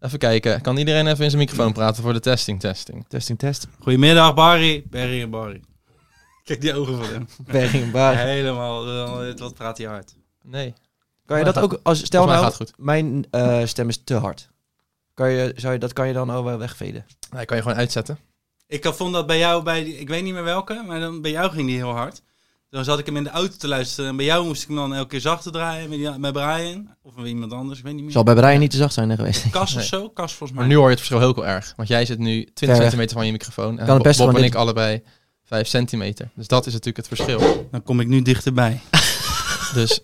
Even kijken. Kan iedereen even in zijn microfoon praten voor de testing testing? Testing, test. Goedemiddag Barry. Barry en Barry. Kijk die ogen van hem. Berging, baar. Helemaal. eh, dit- Wat praat hij hard. Nee. Kan je dat ook, als, stel Volgens mij nou, gaat het goed. mijn eh, stem is te hard. Kan je, zou je, dat kan je dan al wel wegveden. Nee, kan je gewoon uitzetten. Ik vond dat bij jou, bij, die- ik weet niet meer welke, maar dan, bij jou ging die heel hard. Dan zat ik hem in de auto te luisteren en bij jou moest ik hem dan elke keer zachter draaien met, die- met Brian. Of met iemand anders, ik weet niet meer. Zal bij Brian niet te zacht zijn geweest. Kas of Nee. zo? Kas volgens Maar nu mij. hoor je het verschil heel heel erg. Want jij zit nu 20 Ver weg. centimeter van je microfoon. En Kan het best Bob gewoon en dit- ik allebei 5 centimeter. Dus dat is natuurlijk het verschil. Dan kom ik nu dichterbij. Dus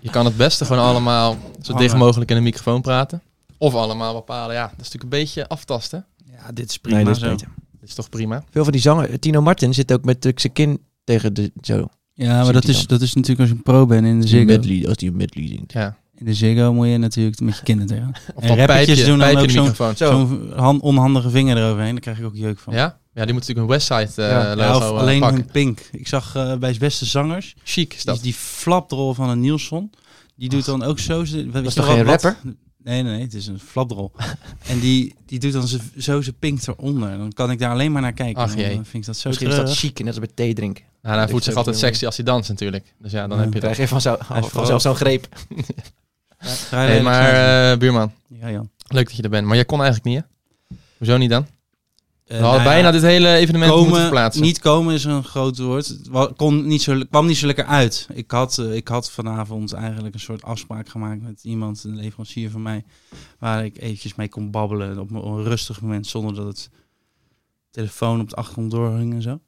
je kan het beste gewoon allemaal zo Hangen. dicht mogelijk in de microfoon praten. Of allemaal bepalen. Ja, dat is natuurlijk een beetje aftasten. Ja, dit is prima Nee, dat is zo. beter. Dat is toch prima? Veel van die zanger, Tino Martin zit ook met eh, zijn kin tegen de zo. Ja, Ziet maar dat hij is, dat is natuurlijk als je een pro bent in de Ziggo. Medley, als die een medley zingt. Ja. In de Ziggo moet je natuurlijk met je kinderen tegen. Of En dan rappertjes pijp je, doen dan pijp je ook de zo'n- microfoon. Zo'n han- onhandige vinger eroverheen, daar krijg ik ook jeuk van. Ja? ja, die moet natuurlijk een Westside eh Ja. Ja, logo of eh, alleen pakken. hun pink. Ik zag eh, bij Beste Zangers, Chic is dat. die, die flapdrol van een Nielsen, die doet dan ook zo... ze- weet is je toch wel, geen wat- rapper? Nee, nee, nee, het is een flapdrol. en die, die doet dan ze- zo zijn pink eronder. Dan kan ik daar alleen maar naar kijken. Ach, jee. Dan eh, vind ik dat zo Misschien is dat treurig. chic, net als bij thee drinken. Nou, hij voelt Ik zich weet altijd niet sexy als hij danst natuurlijk. Dus ja, dan Ja. heb je Krijg dat. je vanzelf, is vanzelf zo'n greep. Vrij Hey, lelijk maar zijn. eh, buurman, ja, Jan. leuk dat je er bent. Maar jij kon eigenlijk niet, hè? Hoezo niet dan? We Eh, hadden nou ja, bijna dit hele evenement moeten verplaatsen. Niet komen is een groot woord. Het wa- kon niet zo, kwam niet zo lekker uit. Ik had, eh, ik had vanavond eigenlijk een soort afspraak gemaakt met iemand, een leverancier van mij, waar ik eventjes mee kon babbelen op een rustig moment, zonder dat het telefoon op de achtergrond doorging en zo.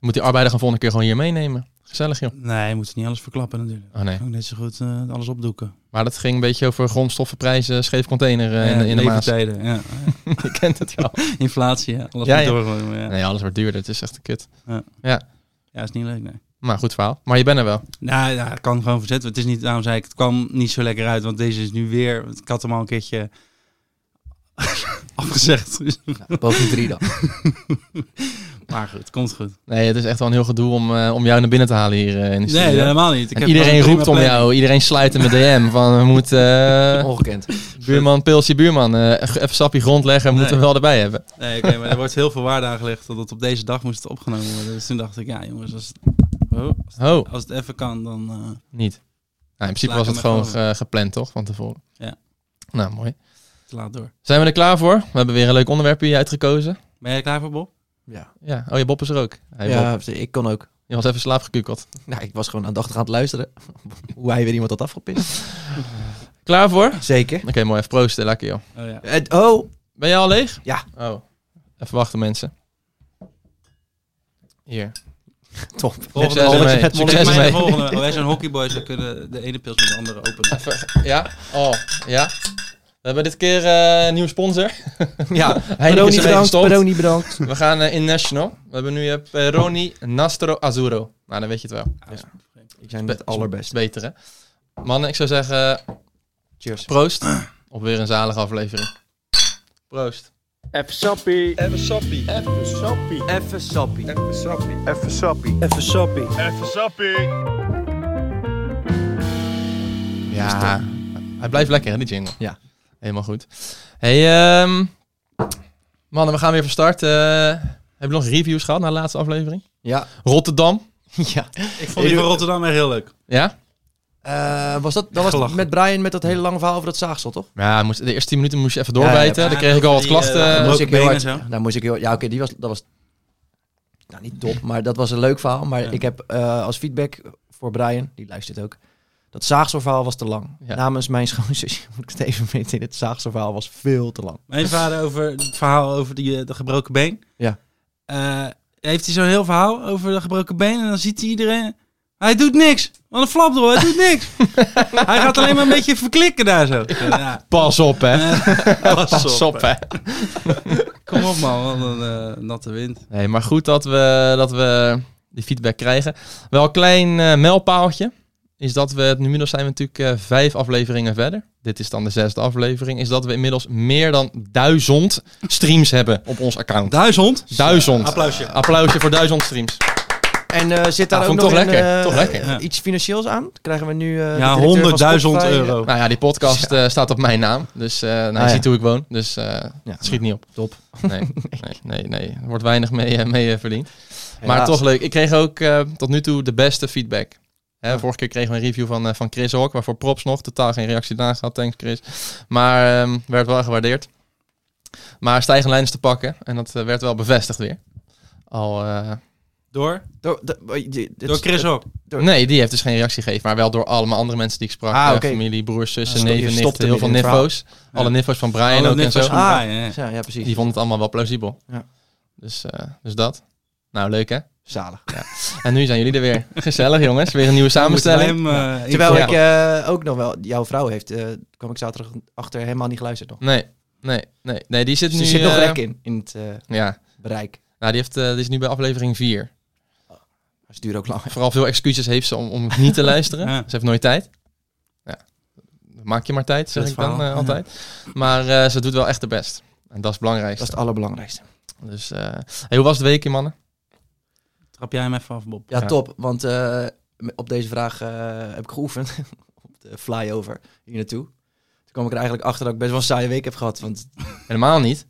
Moet die arbeider gaan volgende keer gewoon hier meenemen. Gezellig, joh. Nee, je moet niet alles verklappen natuurlijk. Oh nee. Kan ik net zo goed eh, alles opdoeken. Maar dat ging een beetje over grondstoffenprijzen, scheef container eh, in, de- in de Maas. leeftijden, ja. Je kent het wel. Inflatie, ja. Alles Ja, moet ja. doorgooien, ja. Nee, alles wordt duurder. Het is echt een kut. ja, is niet leuk, nee. Maar goed verhaal. Maar je bent er wel. Nou ja, het kan gewoon verzet. Het is niet, daarom zei ik, het kwam niet zo lekker uit. Want deze is nu weer, ik had hem al een keertje afgezegd. Boven drie dan. maar goed, het komt goed. Nee, het is echt wel een heel gedoe om, eh, om jou naar binnen te halen hier eh, in de studio. Nee, helemaal niet. Ik en heb iedereen gewoon een roept om prima plek. jou. Iedereen sluit in mijn DM van we moeten... eh, Ongekend. buurman, pilsje, buurman. eh, even sapje grond leggen, moeten we Nee. wel erbij hebben. Nee, oké, maar er wordt heel veel waarde aan gelegd dat het op deze dag moest opgenomen worden. Dus toen dacht ik, ja jongens, als het, oh, Oh, als het even kan, dan... eh, niet. Nou, in principe was Laat hem het maar gewoon gewoon. ge- gepland, toch? Van tevoren. Ja. Nou, mooi. te laat door. Zijn we er klaar voor? We hebben weer een leuk onderwerp hier uitgekozen. Ben jij klaar voor Bob? Ja, Ja. Oh, je Bob is er ook. Hey, Bob. ja ik kon ook. Je was even slaapgekukeld. Nou, ik was gewoon aandachtig aan het luisteren. Hoe hij weer iemand had afgepist. Klaar voor? Oké, Zeker. mooi. Even proosten. Lekker, joh. Oh ja. Eh, oh, Ben jij al leeg? Ja. Oh. Even wachten, mensen. Hier. top. Succes week- ermee. Volgende Succes volgens mij de ermee. volgende. week. Wij zijn hockeyboys, we kunnen de ene pils met de andere openen. Even- Ja? Oh, ja? We hebben dit keer eh, een nieuwe sponsor. Ja, Heineken is Peroni ermee bedankt. gestopt. Peroni bedankt. We gaan eh, international. We hebben nu eh, Peroni Nastro Azzurro. Nou, dan weet je het wel. Ik zijn het allerbeste. Beter, hè? Mannen, ik zou zeggen, Cheers. proost. Op weer een zalige aflevering. Proost. Even sappie. Even Even sappie. sappie. Even sappie. Even sappie. Ja. Hij blijft lekker, hè, die jingle? Ja. Helemaal goed. hey, ehm, mannen, we gaan weer van start. Eh, hebben we nog reviews gehad na de laatste aflevering? Ja. Rotterdam. ja. Ik vond die van Rotterdam echt heel leuk. Ja? Eh, was dat, dat was Gelachen. met Brian met dat hele lange verhaal over dat zaagsel, toch? Ja, hij moest, de eerste 10 minuten moest je even Ja, ja. doorbijten. Ja, Daar kreeg ik al wat die, eh, klachten. dat Daar Broken moest ik heel benen hard. en zo. Daar moest ik heel. Ja, oké, die was dat was. Nou, niet top, maar dat was een leuk verhaal. Maar Ja. ik heb eh, als feedback voor Brian, die luistert ook. Dat zaagselverhaal was te lang. Ja. Namens mijn schoonzusje moet ik het even meten. Het zaagselverhaal was veel te lang. Mijn vader over het verhaal over die, eh, de gebroken been. Dus- Ja. Eh, heeft hij zo'n heel verhaal over de gebroken been en dan ziet hij iedereen... Hij doet niks. Wat een flapdrol, hij doet niks. hij gaat alleen maar een beetje verklikken daar zo. Ja. Pas op, hè. Eh, Pas op, hè. Kom op man, wat een eh, natte wind. Nee, maar goed dat we, dat we die feedback krijgen. Wel een klein eh, mijlpaaltje is dat we, nu inmiddels zijn we natuurlijk eh, vijf afleveringen verder. Dit is dan de zesde aflevering. Is dat we inmiddels meer dan duizend streams hebben op ons account. Duizend. Duizend. Applausje. Applausje voor duizend streams. En eh, zit daar Ja, ook vond ik nog toch in, lekker, eh, toch lekker. Ja. iets financieels aan? Krijgen we nu... eh, ja, de directeur van 100.000 Spotify, eh, euro. Nou ja, die podcast eh, staat op mijn naam. Dus eh nou, je Ah, ja. ziet hoe ik woon. Dus eh, het schiet niet op. Top. Nee, nee, nee, nee. Er wordt weinig mee, eh, mee eh, verdiend. Maar Helaas. toch leuk. Ik kreeg ook eh, tot nu toe de beste feedback. Hè, Vorige keer kregen we een review van, eh, van Chris Hawk, waarvoor props nog. Totaal geen reactie daarna gehad, thanks Chris. Maar ehm, werd wel gewaardeerd. Maar stijgende lijn is te pakken. En dat eh, werd wel bevestigd weer. Al, eh, Door? Door, door- eh, dit- dit- Door Chris ook. Door- nee, die heeft dus geen reactie gegeven. Maar wel door allemaal andere mensen die ik sprak. Ah, eh, oké. Familie, broers, zussen, Ah, je neven, stopt nichten. hem Heel veel in het verhaal. nifo's. Alle Ja. nifo's van Brian Alle ook en nifo's zo. van- Ah, Ja, ja, ja. ja, ja, precies. Die vonden het allemaal wel plausibel. Ja. Dus, eh, dus dat. Nou, leuk hè? Zalig. En nu zijn jullie er weer. Gezellig jongens, weer een nieuwe samenstelling. Moeten wij hem, eh, Terwijl Ja. ik eh, ook nog wel... Jouw vrouw heeft, eh, kwam ik zaterdag achter, helemaal niet geluisterd nog. Nee, nee, nee. Nee, die zit Dus nu... er zit nog eh, rek in, in het eh, Ja, bereik. nou, die, heeft, eh, die is nu bij aflevering 4. Maar ze duurt ook lang. Vooral veel excuses heeft ze om, om niet te luisteren. Ja. Ze heeft nooit tijd. Ja. Maak je maar tijd, zeg Dat ik dan verhaal, eh, ja. altijd. Maar eh, ze doet wel echt haar best. En dat is het Dat is belangrijkste. het allerbelangrijkste. Dus, eh, hey, hoe was de week, hier, mannen? Trap jij hem even af, Bob. Ja, Ja. top. Want eh, m- op deze vraag eh, heb ik geoefend. op de flyover hier naartoe. Toen kwam ik er eigenlijk achter dat ik best wel een saaie week heb gehad. Want Helemaal niet.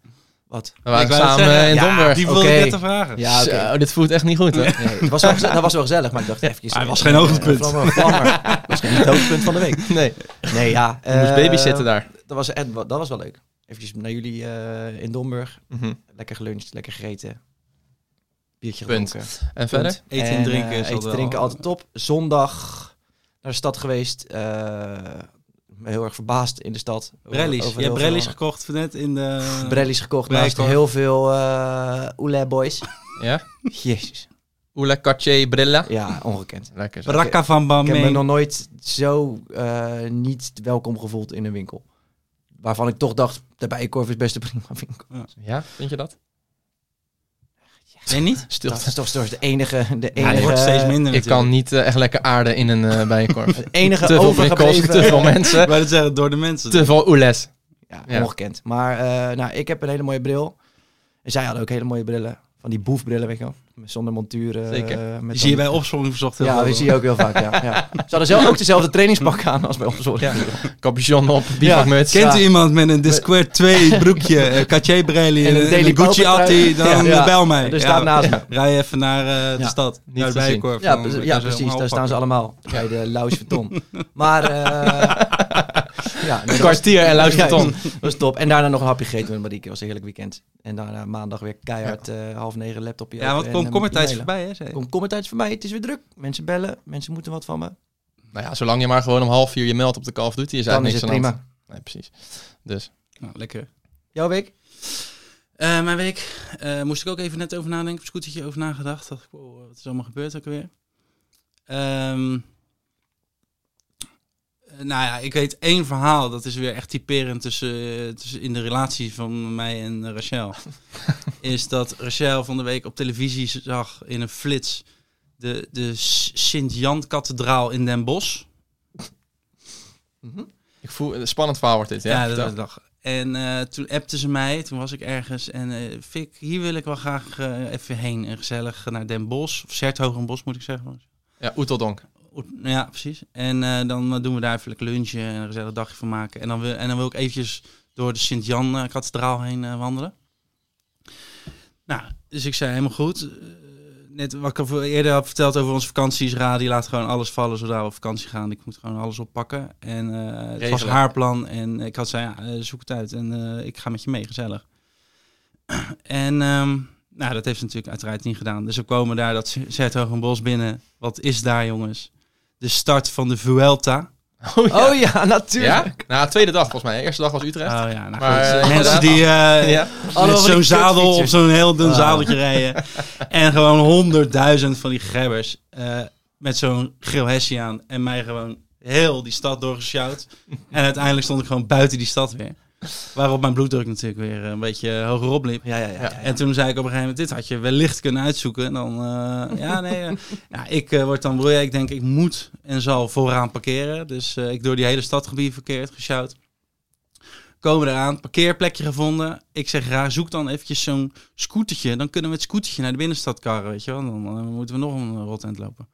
wat? We waren Ik wou het samen zeggen. eh, in Ja, Domburg. die wilde ik Oké. net te vragen. Ja, oké. Zo, dit voelt echt niet goed, hè? Nee, het was wel geze- dat was wel gezellig, maar ik dacht even... eh, Maar het was geen hoogtepunt. Het was geen hoogtepunt van de week. Nee. Nee, ja. eh, Je moest babysitten daar. Dat was, echt- dat was wel leuk. Even naar jullie eh, in Domburg. Mhm. Lekker geluncht, lekker gegeten. Biertje Punt. gedronken. En verder? Eten en drinken eh, is eten altijd drinken wel- altijd top. Zondag naar de stad geweest. eh, heel erg verbaasd in de stad. Over- Brellies. over Je hebt heel Brellies veel- gekocht van net in de... Brellies gekocht naast Breikorf. heel veel eh Oele boys. Ja? Jezus. Oela Cartier Brilla. Ja, ongekend. Lekker zo. Brakka van Ik heb me Bameen. nog nooit zo eh, niet welkom gevoeld in een winkel. Waarvan ik toch dacht, de Bijenkorf is best een prima winkel. Ja, vind je dat? Nee, niet? Dat is toch zo de enige, de Ja, enige, het wordt steeds minder Ik kan natuurlijk. niet eh, echt lekker aarden in een eh bijenkorf. het enige te veel prikkels, overgebleven. te veel mensen, Ik wou het zeggen, door de mensen. te veel oules. Ja, Ja. ongekend. Maar eh, nou, ik heb een hele mooie bril. En zij hadden ook hele mooie brillen. Van die boefbrillen, weet je wel. Met- Zonder montuur. eh, Zeker. met Die dan- zie je bij opzomming verzocht heel Ja, veel. die zie je ook heel vaak, ja. ja. Ze hadden zelf ook dezelfde trainingspak aan als bij ons. hoor. Ja. Capuchon op, bivakmuts. Kent u iemand met een Discord 2 broekje, eh, Cartier Brelli En en een een, Daily Gucci Pauper Atti, trui. dan Ja. eh, bel mij. Dus Ja. daar naast me. Rij even naar eh, de Ja. stad, Niet naar de te zien. Bijenkorf. Ja, Dan pre- kan ja ze precies. helemaal Daar staan ze oppakken. allemaal. Bij de Lounge Vuitton. Maar... eh, ja, nee, dat was- Kwartier en luisterton. Ja, dat was top. En daarna nog een hapje gegeten met Marieke. Dat was een heerlijk weekend. En daarna maandag weer keihard eh, half negen laptopje Ja, want open kom, en, kom er eh, tijd e-mailen. voorbij, hè? zei je. Kom, kom er tijd voorbij. Het is weer druk. Mensen bellen. Mensen moeten wat van me. Nou ja, zolang je maar gewoon om half vier je meldt op de Call of Duty is Dan is eigenlijk niks het aan de hand. prima. Nee, precies. Dus, Nou, lekker. Jouw week? Eh, mijn week eh, moest ik ook even net over nadenken. Op een scootertje over nagedacht. Dacht ik, wow, wat is allemaal gebeurd ook weer? nou ja, ik weet één verhaal. Dat is weer echt typerend tussen, eh, tussen in de relatie van mij en eh, Rachel. is dat Rachel van de week op televisie zag in een flits de, de S- Sint-Jan-kathedraal in Den Bosch. ik voel, een spannend verhaal wordt dit. Ja, Ja, Vertel. dat dag. En eh, toen appte ze mij, toen was ik ergens. En eh Fik, hier wil ik wel graag eh, even heen. En gezellig naar Den Bosch, of Sertogenbosch moet ik zeggen. ja Oeteldonk. Oet- nou Ja, precies. En eh, dan eh, doen we daar even lekker lunchen en een gezellig dagje van maken. En dan wil, en dan wil ik eventjes door de Sint-Jan-kathedraal heen eh, wandelen. Nou, dus ik zei helemaal goed. Eh, net wat ik al eerder had verteld over onze vakanties. Ra, die laat gewoon alles vallen zodra we op vakantie gaan. Ik moet gewoon alles oppakken. En eh het was Regelen. haar plan. En ik had zei, ja, eh, zoek het uit. En eh, ik ga met je mee, gezellig. en ehm, nou, dat heeft ze natuurlijk uiteraard niet gedaan. Dus we komen daar dat Zertogenbos binnen. Wat is daar, jongens? De start van de Vuelta. Oh ja? Oh ja, natuurlijk. Ja? Nou, tweede dag volgens mij. Eerste dag was Utrecht. Oh ja, nou Maar, goed. eh, mensen die Ah. eh ja. Allemaal met van die zo'n zadel op kutfietsers. zo'n heel dun Ah. zadeltje rijden. En gewoon honderdduizend van die grebbers eh, met zo'n geel hesje aan. En mij gewoon heel die stad doorgesjouwd. en uiteindelijk stond ik gewoon buiten die stad weer. Waarop mijn bloeddruk natuurlijk weer een beetje eh, hoger opliep. Ja, ja, ja. ja, En toen zei ik op een gegeven moment, dit had je wellicht kunnen uitzoeken. En dan, eh, ja, nee. eh, nou, ik eh, word dan broeier. Ik denk, ik moet en zal vooraan parkeren. Dus eh, ik door die hele stad gebied verkeerd gesjouwd. Komen eraan, parkeerplekje gevonden. Ik zeg raar, zoek dan eventjes zo'n scootertje. Dan kunnen we het scootertje naar de binnenstad karren, weet je wel. Dan, eh, moeten we nog een eh, rotend lopen.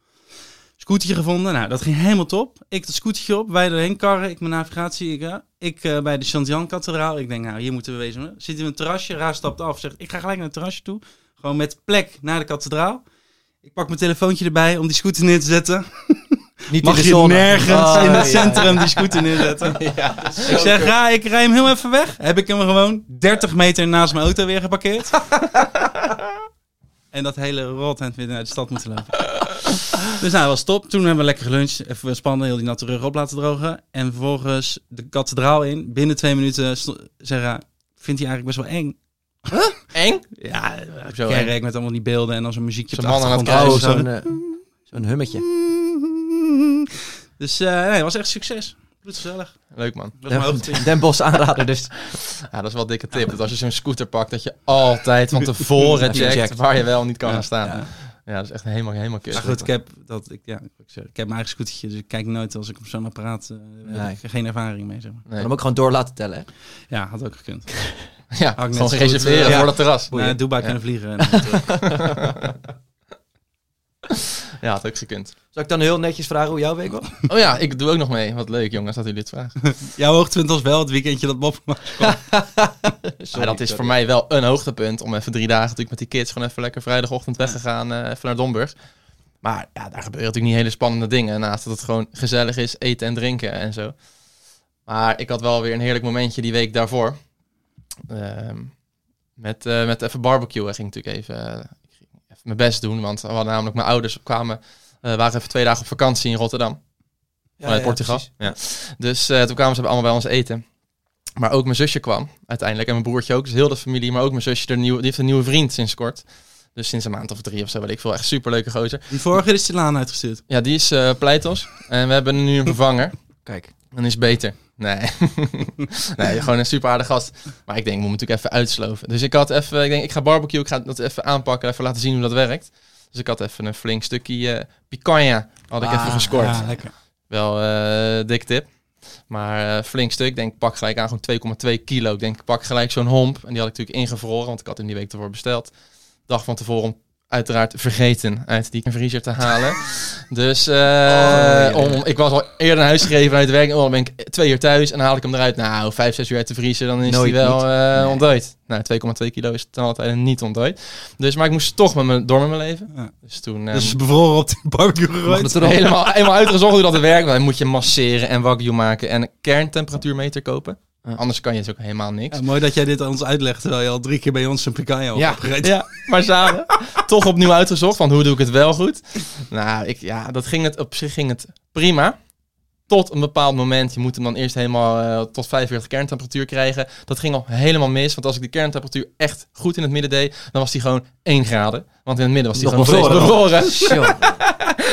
Scootertje gevonden, nou, dat ging helemaal top. Ik dat scootertje op, wij erheen karren, ik mijn navigatie. Ik, eh, ik eh, bij de Sint-Jan-kathedraal. Ik denk, nou, hier moeten we wezen. Zit in een terrasje, raar stapt af, zegt, ik ga gelijk naar het terrasje toe. Gewoon met plek naar de kathedraal. Ik pak mijn telefoontje erbij om die scooter neer te zetten. Niet Mag in de je zon. nergens Ah, Oh, in het ja, centrum die scooter neerzetten. ik zeg, ga, ik rij hem heel even weg. Heb ik hem gewoon 30 meter naast mijn auto weer geparkeerd. en dat hele rothand weer naar de stad moeten lopen. Dus nou, dat was top. Toen hebben we lekker geluncht. Even spannen, heel die natte rug op laten drogen. En vervolgens de kathedraal in. Binnen twee minuten sto- zeg haar, vindt hij eigenlijk best wel eng. Eng? Ja, Zo eng. kerk met allemaal die beelden en dan zo'n muziekje op de Zo'n man aan het Oh, achtergrond. kruisen, Zo. zo'n eh, zo'n hummetje. Dus eh nee, het was echt succes. Bloedgezellig. Leuk man. Dat was mijn hoogtepunt. Den Bos aanrader dus. Ja, dat is wel een dikke tip. Dat als je zo'n scooter pakt, dat je altijd van tevoren Even checkt checkt. waar je wel niet kan Ja, gaan staan. ja. Ja. dat is echt helemaal, helemaal kut. Maar goed, ik heb, dat, ik, ja, ik, zeg, ik heb mijn eigen scootertje, dus ik kijk nooit als ik op zo'n apparaat... eh, heb ik geen ervaring mee, zeg maar. Nee. Dan ook gewoon door laten tellen. hè. Ja, had ook gekund. Ja, net gewoon zo goed, reserveren eh, ja. voor dat terras. Naar Dubai Ja. kunnen vliegen. En, eh, Ja, had ook gekund. Zal ik dan heel netjes vragen hoe jouw week was? Oh ja, ik doe ook nog mee. Wat leuk jongens, dat jullie dit vragen. jouw hoogtepunt was wel het weekendje dat Bob... Maar dat is voor mij wel een hoogtepunt. Om even drie dagen natuurlijk met die kids gewoon even lekker vrijdagochtend weggegaan. eh, even naar Domburg. Maar ja, daar gebeuren natuurlijk niet hele spannende dingen. Naast dat het gewoon gezellig is, eten en drinken en zo. Maar ik had wel weer een heerlijk momentje die week daarvoor. Ehm, met, eh, met even barbecue. Ik ging natuurlijk even, eh, ik ging even mijn best doen. Want we hadden namelijk mijn ouders kwamen, eh, waren even twee dagen op vakantie in Rotterdam. Vanuit Portugal. Ja. Dus eh, toen kwamen ze allemaal bij ons eten. Maar ook mijn zusje kwam uiteindelijk. En mijn broertje ook. Dus heel de familie. Maar ook mijn zusje. De nieuwe, die heeft een nieuwe vriend sinds kort. Dus sinds een maand of drie of zo. Weet ik veel. Echt superleuke gozer. Die vorige is de laan uitgestuurd. Ja, die is eh Pleitos. En we hebben nu een vervanger. Kijk. Dan is het beter. Nee. nee, gewoon een super aardige gast. Maar ik denk, ik moet hem natuurlijk even uitsloven. Dus ik had even, ik denk, ik ga barbecue, ik ga dat even aanpakken, even laten zien hoe dat werkt. Dus ik had even een flink stukje eh picanha, had ik even Ah, gescoord. Ja, lekker. Wel eh dik tip. Maar eh, flink stuk. Ik denk, pak gelijk aan gewoon 2,2 kilo. Ik denk, pak gelijk zo'n homp. En die had ik natuurlijk ingevroren, want ik had hem die week ervoor besteld. Dag van tevoren uiteraard vergeten uit die vriezer te halen. dus eh, ja, ja. om, ik was al eerder naar huis gegeven uit werk. Oh, dan ben ik twee uur thuis en dan haal ik hem eruit. Nou, vijf, zes uur uit de vriezer, dan is Nooit hij wel niet. eh Nee. ontdooid. Nou, 2,2 kilo is ten altijd niet ontdooid. Dus, maar ik moest toch met mijn, door met mijn leven. Ja. Dus toen... eh, Dus bevroren op de barbecue gegooid. Helemaal, helemaal uitgezocht hoe dat werkt. Dan moet je masseren en wagyu maken en een kerntemperatuurmeter kopen. Anders kan je dus ook helemaal niks. Ja, mooi dat jij dit ons uitlegt, terwijl je al drie keer bij ons een picanha op Ja. hebt gereden. Ja, maar samen toch opnieuw uitgezocht van hoe doe ik het wel goed. Nou, ik, ja, dat ging het, op zich ging het prima. Tot een bepaald moment. Je moet hem dan eerst helemaal eh, tot 45 kerntemperatuur krijgen. Dat ging al helemaal mis. Want als ik de kerntemperatuur echt goed in het midden deed, dan was die gewoon 1 graden. Want in het midden was die Nog gewoon nog steeds bevroren. bevroren.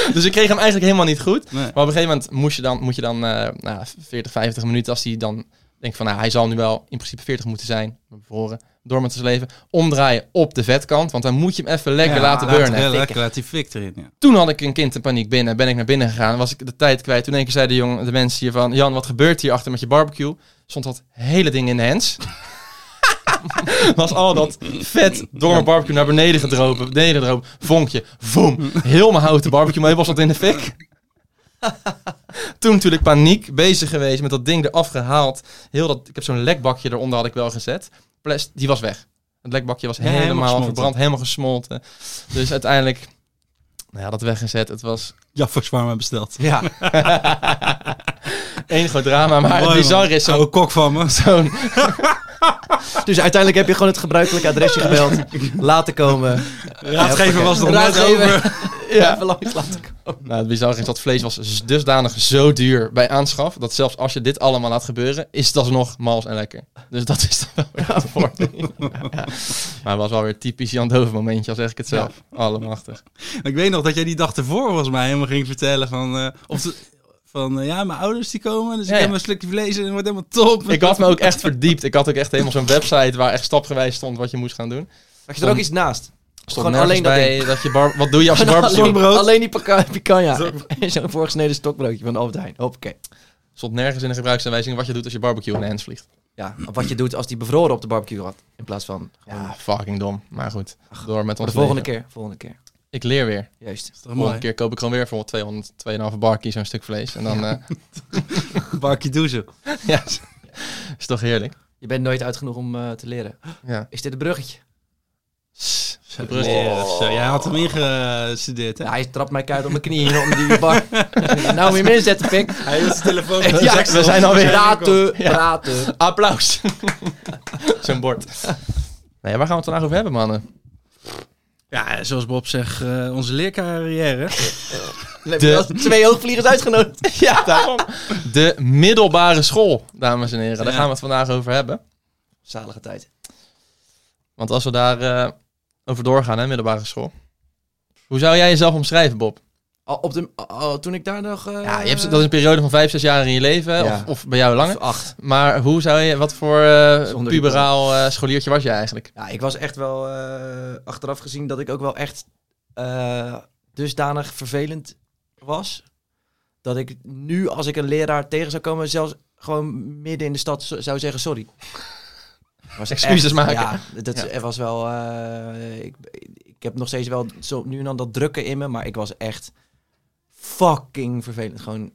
Zo. Dus ik kreeg hem eigenlijk helemaal niet goed. Nee. Maar op een gegeven moment moest je dan, moet je dan eh, nou, 40, 50 minuten, als hij dan denkt van nou, hij zal nu wel in principe 40 moeten zijn, bevroren, door met zijn leven, omdraaien op de vetkant. Want dan moet je hem even lekker Ja, laten laat burnen. wel Lekker, Fikken. laat die fik erin. Ja. Toen had ik een kind in paniek binnen, ben ik naar binnen gegaan, was ik de tijd kwijt. Toen in één keer zeiden de, jongen, de mensen hier van, Jan, wat gebeurt hier achter met je barbecue? Stond dat hele ding in de hens. Was al dat vet door mijn barbecue naar beneden gedropen. Beneden gedropen. Vonkje. Voem. Heel mijn houten barbecue meubel zat in de fik. Toen natuurlijk paniek, bezig geweest met dat ding eraf gehaald. Heel dat, ik heb zo'n lekbakje eronder had ik wel gezet. Plast, die was weg. Het lekbakje was Ja, helemaal, helemaal gesmolten. verbrand, helemaal gesmolten. Dus uiteindelijk, nou ja, dat weggezet. Het was Jaffers warm besteld. Ja. één groot drama. Maar het bizar is, zo'n Oude kok van me. zo'n- Dus uiteindelijk heb je gewoon het gebruikelijke adresje gebeld. Laten komen. Raadgever was nog net Raadgever. over. ja. Even langs laten komen. Nou, het bizarre is dat vlees was z- dusdanig zo duur bij aanschaf... dat zelfs als je dit allemaal laat gebeuren, is dat nog mals en lekker. Dus dat is dan wel weer het voordeel. Ja. Maar het was wel weer typisch Jan Dover momentje, al zeg ik het zelf. Allemachtig. Maar Ik weet nog dat jij die dag ervoor volgens mij helemaal ging vertellen van... eh, of de- van eh, ja, mijn ouders die komen, dus Ja, ik heb ja. een stukje vlees en het wordt helemaal top. Ik had me ook echt verdiept. Ik had ook echt helemaal zo'n website waar echt stapgewijs stond wat je moest gaan doen. Had je er ook iets naast? Stond Gewoon nergens alleen dat bij ding. dat je bar- wat doe je als je barbecue... alleen, stokbrood. alleen die pika- picanha. En zo'n voorgesneden stokbroodje van Albert Heijn. Hoppakee. Stond nergens in de gebruiksaanwijzing wat je doet als je barbecue in de hands vliegt. Ja, wat je doet als die bevroren op de barbecue had. In plaats van gewoon... Ja, fucking dom. Maar goed, door met Maar ons de volgende leven. keer, volgende keer. Ik leer weer. Juist. Is toch De volgende mooi? keer koop ik gewoon weer voor 200, 2,5 barkie zo'n stuk vlees. En dan, eh, Barkie douchen. ja, is- is toch heerlijk. Je bent nooit uit genoeg om eh, te leren. Ja. Is dit een bruggetje? Zo, Brust. leren, zo. Jij had hem ingestudeerd, hè? Nou, hij trapt mij keihard op mijn knieën om die bar. nou, moet je me inzetten, pik. Hij heeft zijn telefoon. Ja, we zijn alweer- Praten, Ja. praten. Applaus. zo'n bord. Nee, waar gaan we het vandaag over hebben, mannen? Ja, zoals Bob zegt, eh, onze leercarrière. De- De... Twee hoogvliegers uitgenodigd. Ja, daarom. De middelbare school, dames en heren. Daar Ja. gaan we het vandaag over hebben. Zalige tijd. Want als we daar eh, over doorgaan, hè, middelbare school. Hoe zou jij jezelf omschrijven, Bob? Al, op de, al- toen ik daar nog... eh, Ja, je hebt, dat is een periode van vijf, zes jaar in je leven. Ja. Of, of bij jou langer. of Acht. Maar hoe zou je, wat voor eh, Zonder puberaal eh, scholiertje was je eigenlijk? Ja, ik was echt wel eh, achteraf gezien dat ik ook wel echt eh, dusdanig vervelend was. Dat ik nu, als ik een leraar tegen zou komen, zelfs gewoon midden in de stad zo- zou zeggen sorry. Was Excuses echt- maken. Ja, dat Ja. er was wel... eh, ik, ik heb nog steeds wel zo nu en dan dat drukken in me, maar ik was echt fucking vervelend. Gewoon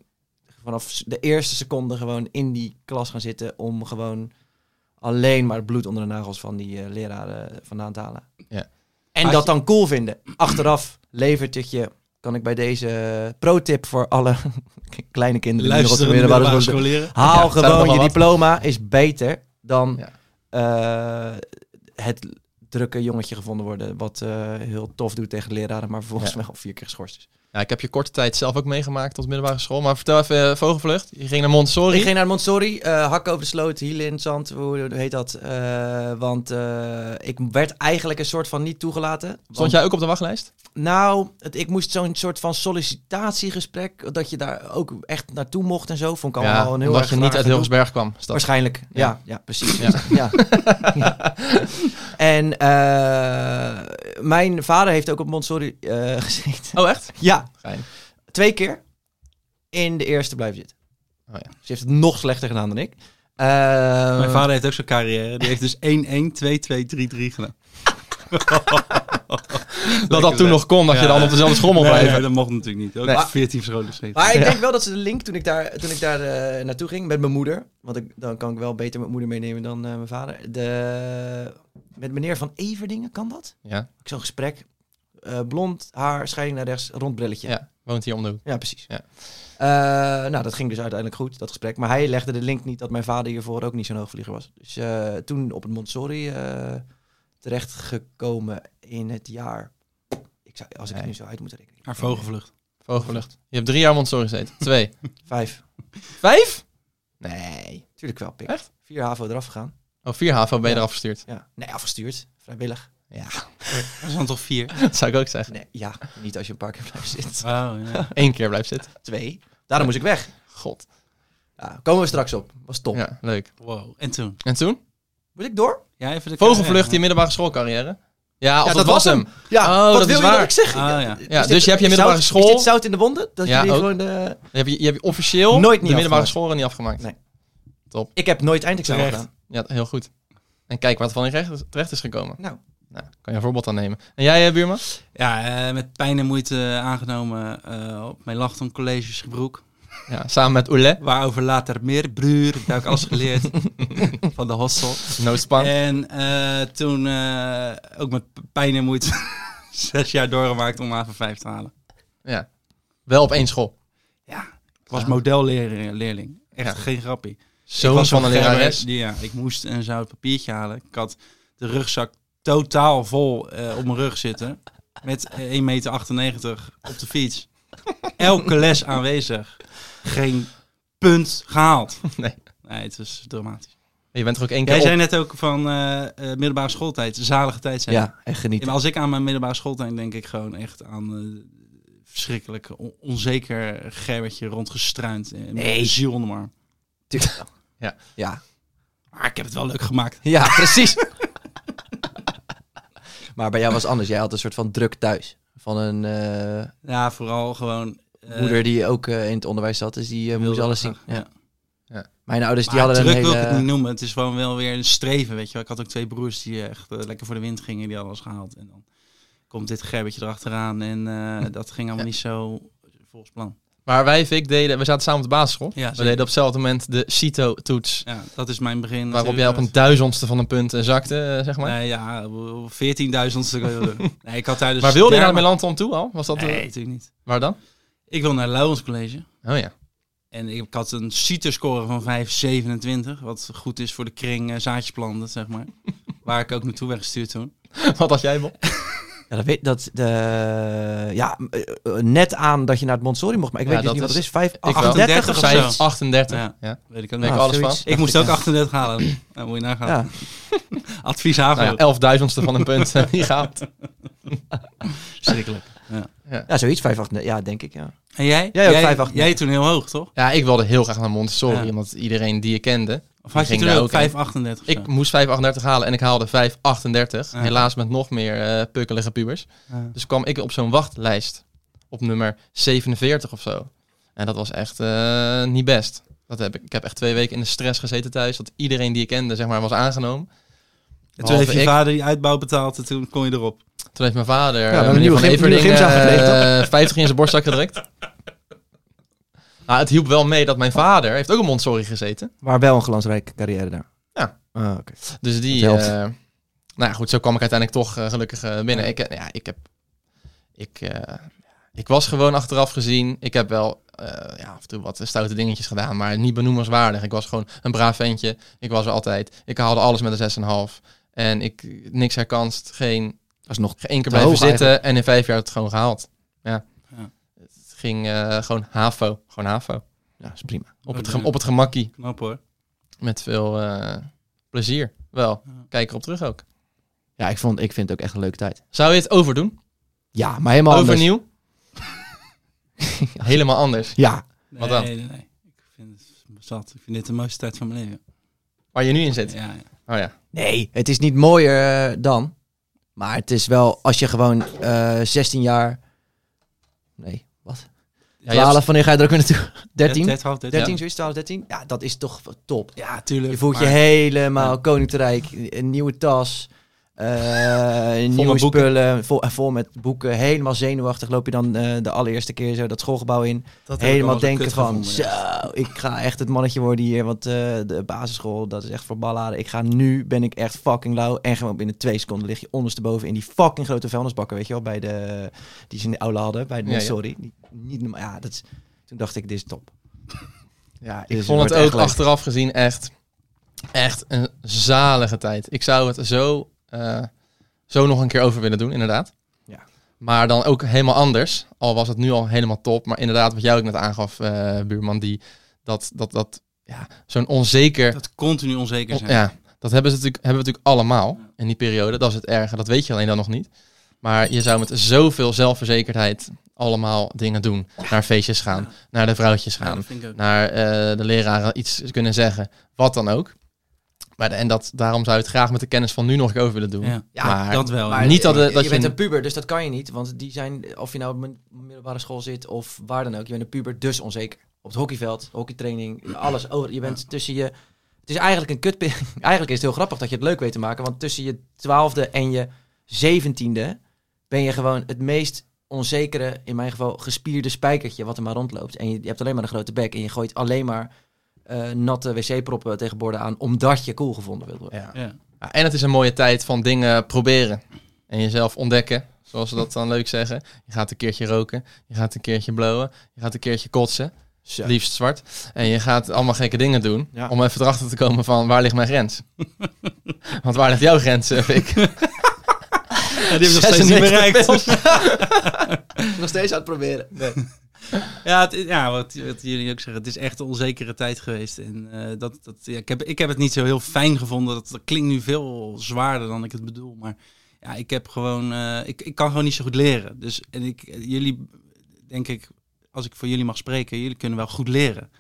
vanaf de eerste seconde gewoon in die klas gaan zitten om gewoon alleen maar het bloed onder de nagels van die eh, leraren vandaan te halen. Ja. En Had dat je- dan cool vinden. Achteraf levert het je, kan ik bij deze pro-tip voor alle kleine kinderen die nog op de Luisteren middelbare middelbare school- scholieren. Ja, Haal het zijn er gewoon nogal je wat. diploma, is beter dan eh, het drukke jongetje gevonden worden, wat eh, heel tof doet tegen leraren, maar vervolgens Ja. wel vier keer geschorst is. Ja, ik heb je korte tijd zelf ook meegemaakt tot middelbare school. Maar vertel even, eh, Vogelvlucht, je ging naar Montessori. Ik ging naar Montsori, eh hakken over de sloot, hielen in het zand, hoe heet dat? Eh, want eh, ik werd eigenlijk een soort van niet toegelaten. Stond Want- jij ook op de wachtlijst? Nou, het, ik moest zo'n soort van sollicitatiegesprek, dat je daar ook echt naartoe mocht en zo, vond ik allemaal een heel omdat erg je niet raar uit gedoe. Hilversberg kwam. is dat. Waarschijnlijk, ja. Ja. Ja, precies. Ja. Ja. Ja. En eh, mijn vader heeft ook op Montsori eh gezeten. Oh, echt? Ja, Fijn. twee keer in de eerste blijven zitten. Oh ja. Dus je heeft het nog slechter gedaan dan ik. Eh, Mijn vader heeft ook zo'n carrière. Die heeft dus 1-1-2-2-3-3 gedaan. Dat dat toen nog kon, dat je dan op dezelfde school mocht Nee, blijven. nee, dat mocht natuurlijk niet. Ook Nee. 14 scholen geschreven. Maar ik denk wel dat ze de link toen ik daar, toen ik daar eh, naartoe ging met mijn moeder. Want ik, dan kan ik wel beter mijn moeder meenemen dan eh, mijn vader. De, met meneer Van Everdingen, kan dat? Ja, Ik zo'n gesprek. Eh, blond haar, scheiding naar rechts, rond brilletje. ja, woont hier om de hoek. Ja, precies. Ja. Eh, nou, dat ging dus uiteindelijk goed, dat gesprek. Maar hij legde de link niet dat mijn vader hiervoor ook niet zo'n hoogvlieger was. Dus eh, toen op het Montessori eh terechtgekomen in het jaar... Ik zou, als ik het Nee. nu zo uit moet rekenen. Haar vogelvlucht. Vogelvlucht. Je hebt drie jaar Montessori gezeten. Twee. Vijf. Vijf? Nee. Tuurlijk wel, pik. Echt? Vier HAVO eraf gegaan. Oh, vier HAVO ben je Ja. eraf verstuurd. Ja. Nee, afgestuurd. Vrijwillig. Dat is dan toch vier? Dat zou ik ook zeggen. Nee, ja, niet als je een paar keer blijft zitten. Oh, ja. Eén keer blijf zitten. Twee. Daarom moest ik weg. God. Ja, komen we straks op. Was top. Ja, leuk. Wow. En toen? En toen? Moet ik door? Ja, even de Vogelvlucht, die carrière. middelbare schoolcarrière. Ja, of dat, dat was was hem. Ja, Oh, wat dat wil is je dat waar. ik zeg? Ah, ja. Ja, Is dus je hebt je middelbare zout, school. Is dit zout in de wonden? Dat Ja, jullie ook. gewoon eh, de... Je hebt, je hebt officieel Nooit niet de middelbare afgemaakt. scholen niet afgemaakt. Nee. Ik heb nooit eindexamen gedaan. Ja, heel goed. En kijk wat van in recht- terecht is gekomen. Nou. Nou, kan je een voorbeeld aan nemen. En jij, eh, buurman? Ja, eh, met pijn en moeite aangenomen eh, op mijn Lachton College Gebroek. Ja, samen met Oele. Waarover later meer, bruur. Daar heb ik alles geleerd. van de hostel. Noodspan. En eh, toen eh, ook met pijn en moeite zes jaar doorgemaakt om van 5 te halen. Ja. Wel op één school. Ik was modelleerling. Echt Ja. geen grappie. Ik Zoon was van een zo'n lerares. gerber die- Ja, ik moest een zout papiertje halen. Ik had de rugzak totaal vol eh, op mijn rug zitten. Met 1,98 meter op de fiets. Elke les aanwezig. Geen punt gehaald. Nee. Nee, het was dramatisch. Je bent er ook één keer Jij op. zei net ook van eh, eh, middelbare schooltijd. Zalige tijd zijn. Ja, en genieten. Maar als ik aan mijn middelbare schooltijd denk ik gewoon echt aan eh verschrikkelijk on- onzeker gerbertje rondgestruind. eh, Met Nee. een ziel onder mijn arm. Ja. Ja. Maar ik heb het wel leuk gemaakt. Ja, precies. maar bij jou was het anders. Jij had een soort van druk thuis. Van een eh, Ja, vooral gewoon. eh, moeder die ook eh, in het onderwijs zat. Dus die eh, wilde moest alles zien. graag, Ja. Ja. Ja. Mijn ouders die Maar hadden een druk wil ik het hele... niet noemen. Het is gewoon wel weer een streven, weet je wel. Ik had ook twee broers die echt eh, lekker voor de wind gingen. Die hadden alles gehaald. En dan komt dit gerbetje erachteraan. En eh, Hm. dat ging allemaal niet zo volgens plan. Maar wij, Vic, deden, we zaten samen op de basisschool. Ja, we zeker. deden op hetzelfde moment de CITO-toets. Ja, dat is mijn begin. Dus Waarop jij op een duizendste van een punt eh, zakte, eh, zeg maar. Nee, ja, 14.000 nee, ik had daar dus... maar wilde je nou Ja, naar maar- Melanton toe al? Was dat eh, Nee, natuurlijk niet. Waar dan? Ik wil naar Lauwens College. Oh ja. En ik had een CITES-score E van 5,27. Wat goed is voor de kring eh, zaadjesplanten, zeg maar. Waar ik ook naartoe werd gestuurd toen. Wat had jij, Bob? Ja, dat weet, dat, de, ja, m- eh, eh, net aan dat je naar het Montessori mocht, maar ik Ja, weet dus dat niet wat is- het is. 5, wel. 38 of Zij- zo. 5, 38. Ja. Ja. Weet ik Weet ook nog. ik Ah, alles zoiets. van. Ik moest dacht ook ik, 38 halen. Dan moet je nagaan. Ja. Advies haven. Nou ja, elfduizendste van een punt eh, die gaat. Schrikkelijk. Ja, zoiets. 5,8. Ja, denk ik, ja. En jij? Jij ook jij, 5,8. jij toen heel hoog, toch? Ja, ik wilde heel graag naar Montessori, Ja. omdat iedereen die je kende. Of had je ging toen daar ook ook in. 538? Ik moest 5,38 halen en ik haalde 5,38. Ah. Ja. Helaas met nog meer eh, pukkelige pubers. Dus kwam ik op zo'n wachtlijst op nummer 47 of zo. En dat was echt eh, niet best. Dat heb ik. ik heb echt twee weken in de stress gezeten thuis. Dat iedereen die ik kende zeg maar, was aangenomen. En toen heeft je ik. vader die uitbouw betaald en toen kon je erop. Toen heeft mijn vader, ja, we hebben meneer nieuwe Van gym- nieuwe Everding, gyms aangekleed, eh, 50 in zijn borstzak gedrukt. Nou, het hielp wel mee dat mijn vader heeft ook een Montessori gezeten. Maar wel een glansrijke carrière daar. Ja. Ah, oké. Dus die... Dat helpt. eh, nou ja, goed, zo kwam ik uiteindelijk toch eh, gelukkig eh, binnen. Ik, eh, ja, ik heb... Ik, eh, ik was gewoon achteraf gezien. Ik heb wel eh, ja, af en toe wat stoute dingetjes gedaan, maar niet benoemenswaardig. Ik was gewoon een braaf ventje. Ik was er altijd. Ik haalde alles met een 6,5. En ik niks herkanst. Geen, Dat is nog... geen één keer Te blijven hoog zitten. En in vijf jaar het gewoon gehaald. Ja. Ja. Het ging eh, gewoon HAVO. Gewoon HAVO. Ja, is prima. Op het, Oh, gem- ja. op het gemakkie. Knap hoor. Met veel eh, plezier. Wel, Ja. kijk erop terug ook. Ja, ik, vond, ik vind het ook echt een leuke tijd. Zou je het overdoen? Ja, maar helemaal anders. Overnieuw? Helemaal anders. Ja. Nee, Wat dan? Nee, nee. Ik vind het zat. Ik vind dit de mooiste tijd van mijn leven. Waar je nu in zit. Ja, ja. Oh ja. Nee, het is niet mooier eh, dan. Maar het is wel, als je gewoon eh 16 jaar... Nee, wat? ja 12, je hebt- wanneer ga je er ook weer naartoe? 13? 13, Dit, half dit, 13 zoiets, 12, 13? Ja, dat is toch top. Ja, Ja, tuurlijk. Je voelt je maar- helemaal koninkrijk. Een nieuwe tas. eh, nieuwe met boeken. spullen. Vol, eh, vol met boeken. Helemaal zenuwachtig loop je dan eh, de allereerste keer zo dat schoolgebouw in. Dat heb ik helemaal allemaal zo denken kut van... gevonden, Zo, ja. ik ga echt het mannetje worden hier. Want eh, de basisschool, dat is echt voor balladen. Ik ga nu, ben ik echt fucking lauw. En gewoon binnen twee seconden lig je ondersteboven in die fucking grote vuilnisbakken. Weet je wel, bij de... Die ze in de aula hadden, bij de Ja, ja. Sorry. Niet, niet, normaal. ja, dat is, toen dacht ik, dit is top. Ja, ik Dus het vond wordt het echt ook leuk. achteraf gezien echt, echt een zalige tijd. Ik zou het zo, eh, zo nog een keer over willen doen, inderdaad. Ja. Maar dan ook helemaal anders. Al was het nu al helemaal top. Maar inderdaad, wat jij ook net aangaf, eh, buurman, die, dat, dat, dat, ja, zo'n onzeker... Dat continu onzeker On- zijn. ja, dat hebben, ze natuurlijk, hebben we natuurlijk allemaal Ja. in die periode. Dat is het erge, dat weet je alleen dan nog niet. Maar je zou met zoveel zelfverzekerdheid allemaal dingen doen. Naar feestjes gaan, Ja. naar de vrouwtjes Ja, gaan, dat vind ik ook. naar eh, de leraren iets kunnen zeggen. Wat dan ook. Maar de- en dat, daarom zou je het graag met de kennis van nu nog een keer over willen doen. Ja, Ja, maar dat wel. Maar- niet dat- je, dat je je bent een- een puber, dus dat kan je niet. Want die zijn, of je nou op een middelbare school zit of waar dan ook, je bent een puber, dus onzeker. Op het hockeyveld, hockeytraining, alles. Over, je bent tussen je. Het is eigenlijk een kutperiode. Eigenlijk is het heel grappig dat je het leuk weet te maken. Want tussen je twaalfde en je zeventiende ben je gewoon het meest onzekere, in mijn geval gespierde spijkertje wat er maar rondloopt. En je, je hebt alleen maar een grote bek en je gooit alleen maar eh, natte wc-proppen tegen borden aan, omdat je cool gevonden wilt worden. Ja. Ja. Ja, Nou, En het is een mooie tijd van dingen proberen. En jezelf ontdekken, zoals ze dat dan leuk zeggen. Je gaat een keertje roken, je gaat een keertje blowen, je gaat een keertje kotsen. Zo. liefst zwart. En je gaat allemaal gekke dingen doen. Ja. Om even erachter te komen van waar ligt mijn grens? Want waar ligt jouw grens, eh, Vic? die hebben nog steeds niet 96 bereikt. pils. Nog steeds aan het proberen. Ja, het, is- ja wat, wat jullie ook zeggen, het is echt een onzekere tijd geweest. En eh, dat, dat, ja, ik, heb, ik heb het niet zo heel fijn gevonden. Dat, dat klinkt nu veel zwaarder dan ik het bedoel. Maar ja, ik heb gewoon, eh, ik, ik kan gewoon niet zo goed leren. Dus en ik, jullie, denk ik, als ik voor jullie mag spreken, jullie kunnen wel goed leren.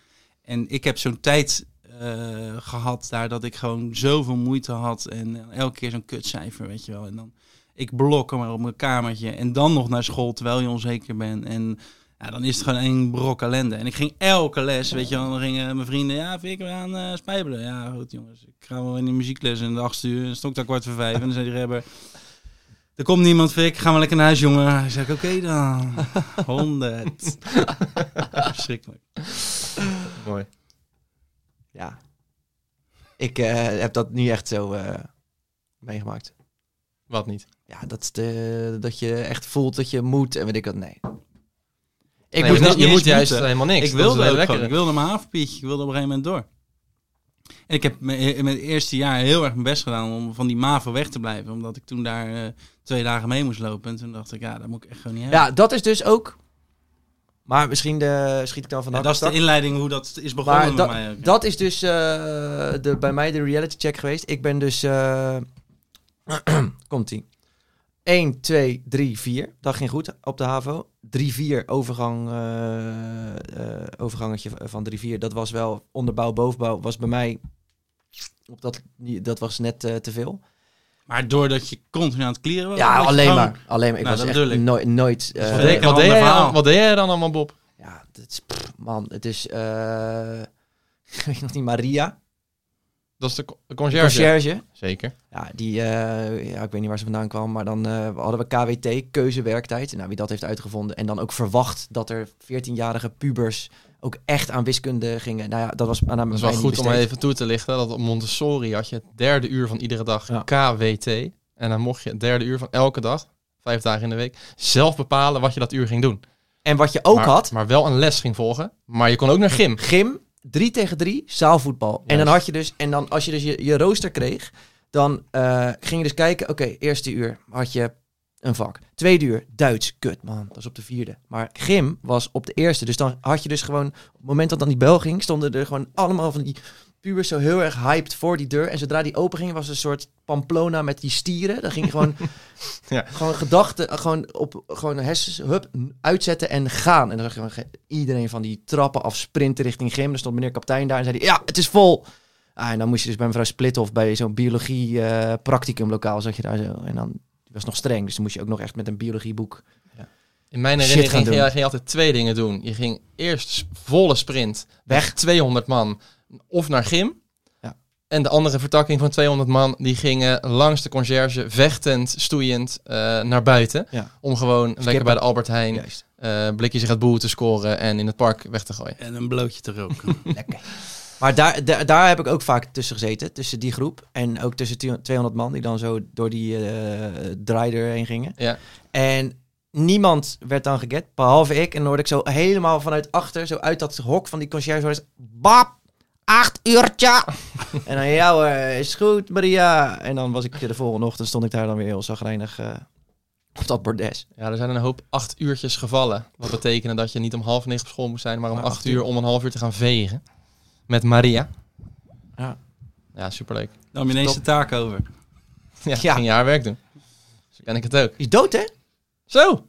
En ik heb zo'n tijd eh, gehad daar dat ik gewoon zoveel moeite had. En eh, elke keer zo'n kutcijfer, weet je wel. En dan, ik blokken maar op mijn kamertje. En dan nog naar school terwijl je onzeker bent. En Ja, dan is het gewoon één brok ellende. En ik ging elke les, weet je wel, dan gingen mijn vrienden, ja, vind ik we gaan eh, spijbelen. Ja, goed jongens, ik ga wel in de muziekles en de achtste uur, en stond ik daar kwart voor vijf. En dan zei die rebber, er komt niemand, Fik, ga maar lekker naar huis, jongen. Hij zei, ik, oké dan, honderd. Verschrikkelijk. Mooi. Ja. Ik eh, heb dat nu echt zo eh, meegemaakt. Wat niet. Ja, dat, is de, dat je echt voelt dat je moet en weet ik wat. Nee. Ik Nee, moest je niet, moet- je eens moet juist moeten. helemaal niks. Ik wilde ook lekker. gewoon. Ik wilde mijn havenpietje. Ik wilde op een gegeven moment door. En ik heb me- in mijn eerste jaar heel erg mijn best gedaan om van die MAVO weg te blijven. Omdat ik toen daar eh, twee dagen mee moest lopen. En toen dacht ik, ja, dat moet ik echt gewoon niet hebben. Ja, dat is dus ook. Maar misschien de, schiet ik dan van de En dat is de hakken inleiding hoe dat is tak. begonnen Maar met dat, mij ook. dat is dus eh, de, bij mij de reality check geweest. Ik ben dus. eh, Komt-ie. 1, 2, 3, 4. Dat ging goed op de HAVO. 3, 4 overgang, eh, eh, overgangetje van 3, 4. Dat was wel onderbouw, bovenbouw. Was bij mij. Op dat, dat was net eh, te veel. maar doordat je continu aan het klieren was. Ja, was je alleen gewoon- maar. Alleen maar. Ik Nou, was dat echt bedoel ik. nooit. nooit eh, Wat deed- kan wat, deed jij allemaal. dan, wat deed jij dan allemaal, Bob? Ja, dat is, pff, man, het is, eh ik weet nog niet, Maria, Dat is de co- de conciërge. concierge. Zeker. Ja, die, eh, ja, ik weet niet waar ze vandaan kwam, maar dan eh, hadden we KWT, keuzewerktijd. Nou, wie dat heeft uitgevonden. En dan ook verwacht dat er 14-jarige pubers ook echt aan wiskunde gingen. Nou ja, dat was aan Dat is wel goed om even. even toe te lichten. Dat op Montessori had je het derde uur van iedere dag Ja. KWT. En dan mocht je het derde uur van elke dag, vijf dagen in de week, zelf bepalen wat je dat uur ging doen. En wat je ook maar, had, Maar wel een les ging volgen. Maar je kon ook naar gym. gym, 3 tegen 3, zaalvoetbal. En dan Juist. had je dus, en dan als je dus je, je rooster kreeg, dan eh, ging je dus kijken, oké, eerste uur had je een vak. Tweede uur, Duits, kut man, dat is op de vierde. Maar gym was op de eerste, dus dan had je dus gewoon, op het moment dat dan die bel ging, stonden er gewoon allemaal van die pubers zo heel erg hyped voor die deur. En zodra die open ging, was het een soort pamplona met die stieren. Dan ging je gewoon, Ja. gewoon gedachten, eh, gewoon op gewoon hersens, hup, n- uitzetten en gaan. En dan zag je gewoon ge- iedereen van die trappen af sprinten richting gym. Dan stond meneer kapitein daar en zei die, ja, het is vol. Ah, en dan moest je dus bij mevrouw Splithoff bij zo'n biologie eh, practicum lokaal zat je daar zo. En dan die was nog streng, dus dan moest je ook nog echt met een biologieboek. In mijn Shit herinnering gaan ging je, doen. ging je altijd twee dingen doen. Je ging eerst s- volle sprint Weg. 200 man of naar gym. Ja. En de andere vertakking van 200 man, die gingen langs de conciërge, vechtend, stoeiend, eh, naar buiten. Ja. Om gewoon lekker bij de Albert Heijn Juist. eh, blikjes Red Bull te scoren en in het park weg te gooien. En een blootje te roken. Lekker. Maar daar, daar, daar heb ik ook vaak tussen gezeten, tussen die groep. En ook tussen 200 man die dan zo door die eh draaier heen gingen. Ja. En niemand werd dan geget, behalve ik. En dan hoorde ik zo helemaal vanuit achter, zo uit dat hok van die conciërge, hoorde ik zo, bap, acht uurtje. en dan, ja hoor, is goed Maria. En dan was ik eh, de volgende ochtend, stond ik daar dan weer heel zagrijnig eh, op dat bordes. Ja, er zijn een hoop acht uurtjes gevallen. Wat betekende dat je niet om half negen op school moest zijn, maar om Maar acht acht uur. uur om een half uur te gaan vegen. Met Maria. Ja. Ja, superleuk. Dan heb je ineens de taak over. Ja, Ja. ging je haar werk doen. Zo ken ik het ook. Is dood hè? Zo! Oh.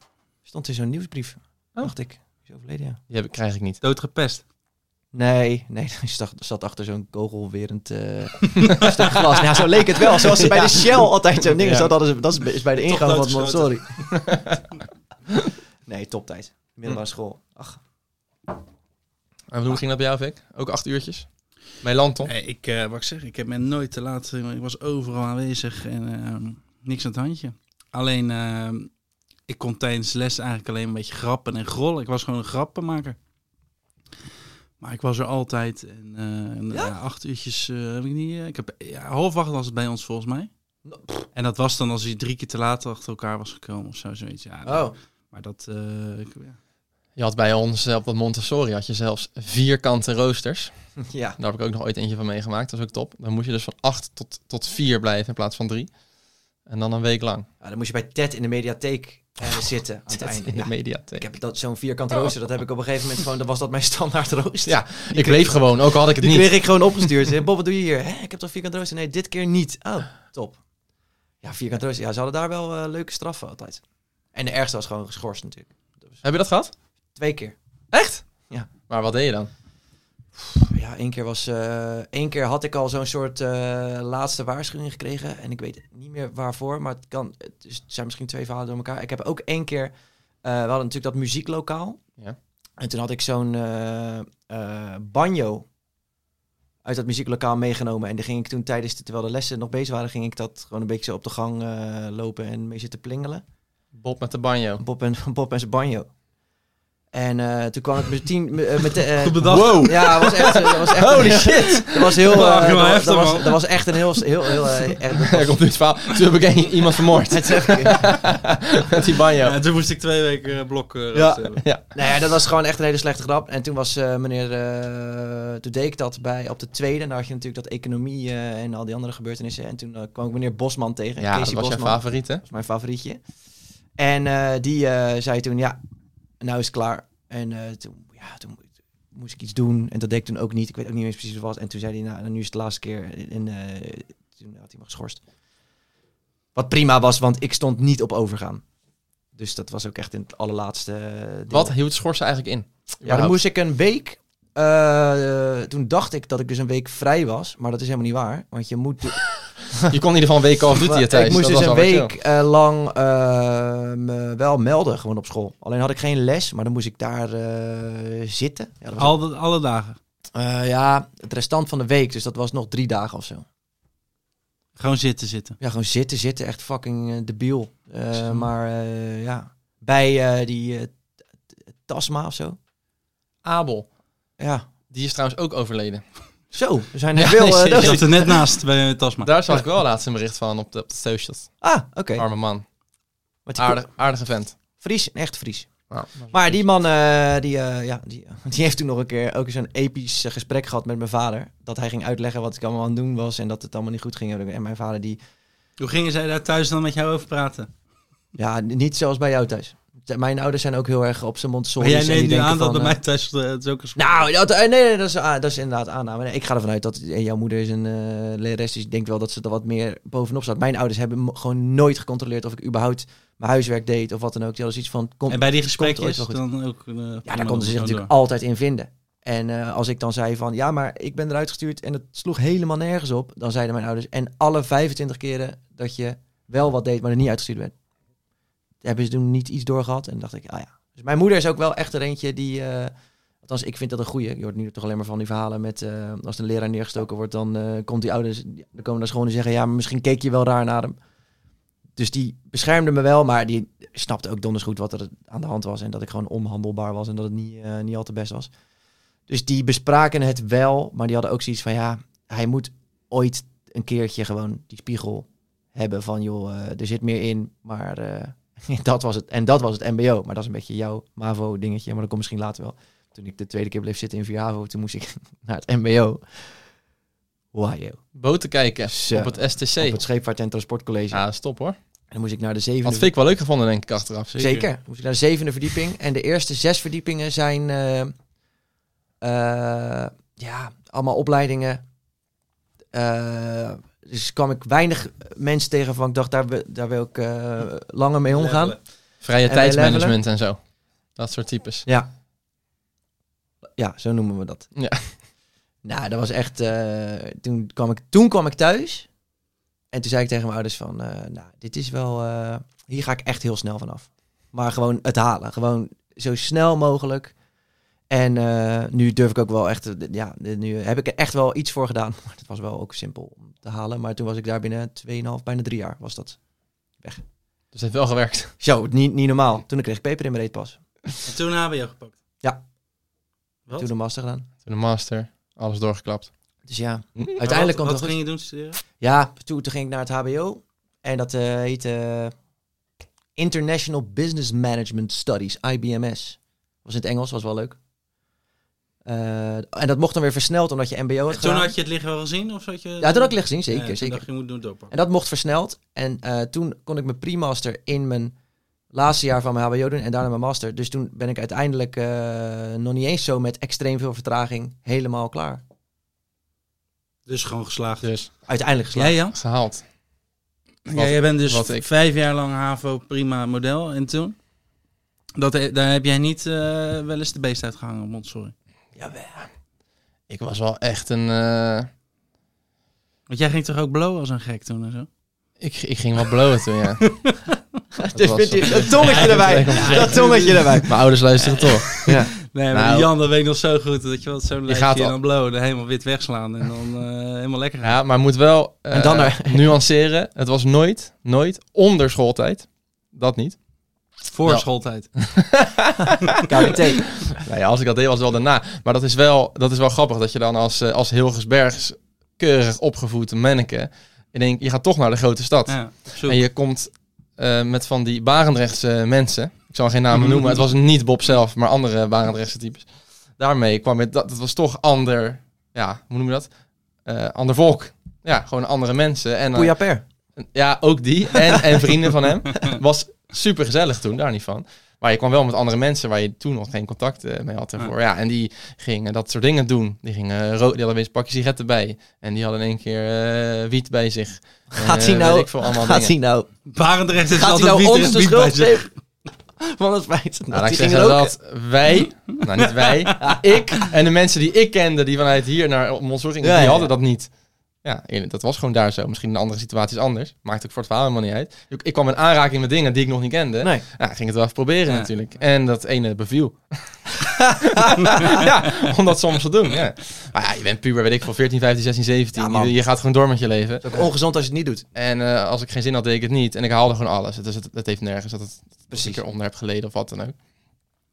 Stond in zo'n nieuwsbrief, dacht ik. Is overleden, ja. Die heb, ik- krijg ik niet. Doodgepest. Nee, nee, hij zat, zat achter zo'n kogelwerend eh, stuk glas. Nou, zo leek het wel. Zoals ze bij de Shell altijd zo'n ding Ja. is. Dat, is, dat is bij de ingang van het Toch Sorry. nee, toptijd. Middelbare Hm. school. Ach, En hoe ging dat bij jou, Vic? Ah. Ook acht uurtjes? Bij Lanton? Nee, ik, eh, wat ik zeg, ik heb me nooit te laat. eh, Ik was overal aanwezig en ehm, niks aan het handje. Alleen, ehm, ik kon tijdens les eigenlijk alleen een beetje grappen en grollen. Ik was gewoon een grappenmaker. Maar ik was er altijd. En, eh, en, ja? acht uurtjes eh, heb ik niet. eh, ik heb, ja, half acht was het bij ons volgens mij. Nou, En dat was dan als hij drie keer te laat achter elkaar was gekomen of zo, zoiets. Ja, Oh. Maar dat. eh, ik- ja. Je had bij ons eh, op dat Montessori had je zelfs vierkante roosters. ja. Daar heb ik ook nog ooit eentje van meegemaakt. Dat is ook top. Dan moest je dus van acht tot, tot vier blijven in plaats van drie. En dan een week lang. Ah, dan moest je bij Ted in de mediatheek eh, zitten aan het einde. Oh, in de Ja, mediatheek. ik heb dat, zo'n vierkant rooster. Dat heb ik op een gegeven moment gewoon... Dat was dat mijn standaard rooster. Ja, ik leef gewoon, ook al had ik het Die niet. kreeg ik gewoon opgestuurd. Hè, Bob, wat doe je hier? Hè, ik heb toch vierkant rooster? Nee, dit keer niet. Oh, top. Ja, vierkant rooster. Ja, ze hadden daar wel eh, leuke straffen altijd. En de ergste was gewoon geschorst natuurlijk. Heb je dat gehad? Twee keer. Echt? Ja. Maar wat deed je dan? Ja, één keer was... eh, één keer had ik al zo'n soort eh, laatste waarschuwing gekregen. En ik weet niet meer waarvoor. Maar het kan... Het is- het zijn misschien twee verhalen door elkaar. Ik heb ook één keer Eh, we hadden natuurlijk dat muzieklokaal. Ja. En toen had ik zo'n eh, eh, banjo uit dat muzieklokaal meegenomen. En die ging ik toen tijdens, terwijl de lessen nog bezig waren, ging ik dat gewoon een beetje zo op de gang eh, lopen en mee zitten plingelen. Bob met de banjo. Bob en, Bob en zijn banjo. En eh, toen kwam ik meteen... me- eh, met de, eh, Goed bedacht. Wow. Ja, dat was echt... eh, Dat was echt Holy shit! Dat was heel... eh, Wacht, dat, maar was, heftig, dat, was, man. dat was echt een heel... heel, heel eh, echt- dat Er was- komt nu het verhaal. Toen heb ik een- iemand vermoord het is echt- met die banjo. toen moest ik twee weken eh, blok eh, Ja. rood hebben. Nou ja, dat was gewoon echt een hele slechte grap. En toen was eh, meneer... eh, toen deed ik dat bij, op de tweede. En daar had je natuurlijk dat economie eh, en al die andere gebeurtenissen. En toen eh, kwam ik meneer Bosman Ja, tegen. dat Casey was jouw Bosman. favoriet, hè? was mijn favorietje. En eh, die eh, zei toen, ja, nou is het klaar. En eh, toen, ja, toen moest ik iets doen. En dat deed ik toen ook niet. Ik weet ook niet eens precies wat het was. En toen zei hij, nou, nu is het de laatste keer. En eh, toen had hij me geschorst. Wat prima was, want ik stond niet op overgaan. Dus dat was ook echt in het allerlaatste eh, deel. Wat hield schorsen eigenlijk in? Ja, dan moest ik een week... eh, toen dacht ik dat ik dus een week vrij was. Maar dat is helemaal niet waar. Want je moet... Je kon in ieder geval een week al of Duty Maar thuis. Ik moest dat dus een was alweer week eh, lang eh, me wel melden, gewoon op school. Alleen had ik geen les, maar dan moest ik daar eh, zitten. Ja, dat was- Al, alle dagen. Eh, ja, het restant van de week, dus dat was nog drie dagen of zo. Gewoon zitten zitten. Ja, gewoon zitten, zitten, echt fucking eh, debiel. Eh, Zo. maar eh, ja, bij eh, die eh, t- t- Tasma of zo. chill. Abel, Ja, die is trouwens ook overleden. zo, er zijn er Ja, veel. nee, eh, serieus. Ik doden. zat er net naast bij eh, Tasma. Daar zag ik wel laatst een bericht van op de, op de socials. ah, oké. Arme man. Met die Aardig, aardige vent. Fries, een echt Fries. Nou, Maar die man, eh, die, eh, ja, die, die heeft toen nog een keer ook zo'n episch eh, gesprek gehad met mijn vader. Dat hij ging uitleggen wat ik allemaal aan het doen was en dat het allemaal niet goed ging. En mijn vader die, Hoe gingen zij daar thuis dan met jou over praten? ja, niet zoals bij jou thuis. T- Mijn ouders zijn ook heel erg op zijn mond Maar jij neemt nu aan dat bij bij mij thuis eh, het ook een soort- Nou, dat, eh, nee, nee dat, is, ah, dat is inderdaad aanname. Nee, ik ga ervan uit dat eh, jouw moeder is een eh lerares, dus ik denk wel dat ze er wat meer bovenop staat. Mijn ouders hebben mo- gewoon nooit gecontroleerd of ik überhaupt mijn huiswerk deed of wat dan ook. Die hadden zoiets van... kom- En bij die het komt ooit gesprekjes wel goed. dan ook... eh, Ja, daar gewoon konden ze zich door. natuurlijk altijd in vinden. En eh, als ik dan zei van, ja, maar ik ben eruit gestuurd en het sloeg helemaal nergens op, dan zeiden mijn ouders, en alle 25 keren dat je wel wat deed, maar er niet uitgestuurd werd, hebben ze toen niet iets doorgehad. En dan dacht ik, ah ja. Dus mijn moeder is ook wel echt er eentje die, eh, althans ik vind dat een goeie. Je hoort nu toch alleen maar van die verhalen met, eh, als de leraar neergestoken wordt, dan eh, komt die ouders, die- dan komen naar school en zeggen, ja, maar misschien keek je wel raar naar hem. Dus die beschermde me wel, maar die snapte ook donders goed wat er aan de hand was. En dat ik gewoon onhandelbaar was en dat het niet, eh, niet al te best was. Dus die bespraken het wel, maar die hadden ook zoiets van... ja, hij moet ooit een keertje gewoon die spiegel hebben van... joh, eh, er zit meer in, maar eh, dat was het. En dat was het mbo, maar dat is een beetje jouw MAVO-dingetje. Maar dat komt misschien later wel. Toen ik de tweede keer bleef zitten in Viavo, toen moest ik naar het mbo. Wow, joh. boten kijken Zo. op het STC. Op het Scheepvaart- en Transportcollege. Ja, stop hoor. En dan moest ik naar de zevende... Want vind ik wel leuk gevonden, denk ik, achteraf. Zeker. Dan moest ik naar de zevende verdieping. En de eerste zes verdiepingen zijn eh, eh, ja, allemaal opleidingen. Eh, dus kwam ik weinig mensen tegen van ik dacht, daar, wi- daar wil ik eh, langer mee omgaan. Vrije En tijdsmanagement en zo. Dat soort types. Ja. Ja, zo noemen we dat. Ja. Nou, dat was echt... eh, toen, kwam ik, toen kwam ik thuis. En toen zei ik tegen mijn ouders van... eh, nou, dit is wel... eh, hier ga ik echt heel snel vanaf. Maar gewoon het halen. Gewoon zo snel mogelijk. En eh, nu durf ik ook wel echt... eh, Ja, nu heb ik er echt wel iets voor gedaan. Maar het was wel ook simpel om te halen. Maar toen was ik daar binnen 2,5, bijna drie jaar was dat. Dus het heeft wel gewerkt. Zo, niet, niet normaal. Toen kreeg ik peper in mijn reet pas. En toen hebben we jou gepakt. Ja. Wat? Toen de master gedaan. Toen de master, alles doorgeklapt. Dus ja, Hm. Maar uiteindelijk wat, komt het wat goed. ging je doen studeren? Ja, toen, toen ging ik naar het HBO. En dat eh heet eh, International Business Management Studies, IBMS. Was in het Engels, was wel leuk. Eh, en dat mocht dan weer versneld, omdat je MBO had En toen gedaan. had je het liggen wel gezien? Of had je... Ja, toen had ik licht gezien, Ja, zeker. toen zeker. dacht je, je moet doen doorpakken. En dat mocht versneld. En eh, toen kon ik mijn pre-master in mijn laatste jaar van mijn HBO doen en daarna mijn master. Dus toen ben ik uiteindelijk eh, nog niet eens zo met extreem veel vertraging helemaal klaar. Dus gewoon geslaagd. Dus Uiteindelijk geslaagd. Jij Jan? gehaald. ja, jij bent dus wat ik- vijf jaar lang HAVO prima model. En toen? Dat, he- daar heb jij niet eh, wel eens de beest uitgehangen op Montsorry. Ik was wel echt een... eh, Want jij ging toch ook blowen als een gek toen en zo? Ik, ik ging wat blowen toen, ja. Dus was vind je zo. dat tongetje Ja, erbij. dat was Dat tongetje erbij. Mijn ouders luisteren toch. Ja. Nee, maar Nou. Jan, dat weet ik nog zo goed. Dat je wel zo'n gaat lijstje en al- dan blowen, er helemaal wit wegslaan en dan eh, helemaal lekker gaan. Ja, maar moet wel eh, En dan er- nuanceren. Het was nooit, nooit onder schooltijd. Dat niet. Voor Nou. schooltijd. KWT. Nou ja, als ik dat deed, was het wel daarna. Maar dat is wel, dat is wel grappig dat je dan als, eh, als Hilgersbergs keurig opgevoed manneke... in één- je gaat toch naar de grote stad. Ja, op zoek. En je komt eh, met van die Barendrechtse mensen. Ik zal geen Mhm. namen noemen. Het was niet Bob zelf, maar andere Barendrechtse types. Daarmee kwam het. Dat, dat was toch ander. Ja, hoe noem je dat? Eh, ander volk. Ja, gewoon andere mensen. En, eh, Poejaper. ja, ook die. En, en vrienden van hem. Was super gezellig toen, daar niet van. Maar je kwam wel met andere mensen waar je toen nog geen contact eh, mee had. Ervoor. Ja, en die gingen dat soort dingen doen. Die gingen rood, die hadden eens een pakje sigaretten bij. En die hadden in één keer eh, wiet bij zich. Gaat Eh, hij nou... weet ik veel, allemaal Gaat dingen. hij nou... Barendrecht is Gaat hij altijd nou wiet en ons de wiet bij schuld zich. geven? Van het Nou, feit dat laat hij ik ging zeggen roken. dat wij, nou niet wij, ik en de mensen die ik kende, die vanuit hier naar Monster gingen, Ja, die ja, hadden ja. dat niet. Ja, eerlijk, dat was gewoon daar zo. Misschien in andere situaties anders. Maakt ook voor het verhaal helemaal niet uit. Ik, ik kwam in aanraking met dingen die ik nog niet kende. Nee. Ja, ik ging het wel even proberen Ja. natuurlijk. En dat ene beviel. ja, om dat soms te doen. Ja. Maar ja, je bent puber, weet ik van 14, 15, 16, 17. Ja, man. je, je gaat gewoon door met je leven. Het is ook ongezond als je het niet doet. En eh, als ik geen zin had, deed ik het niet. En ik haalde gewoon alles. Dus het, het heeft nergens dat het Precies. ik eronder heb geleden of wat dan ook.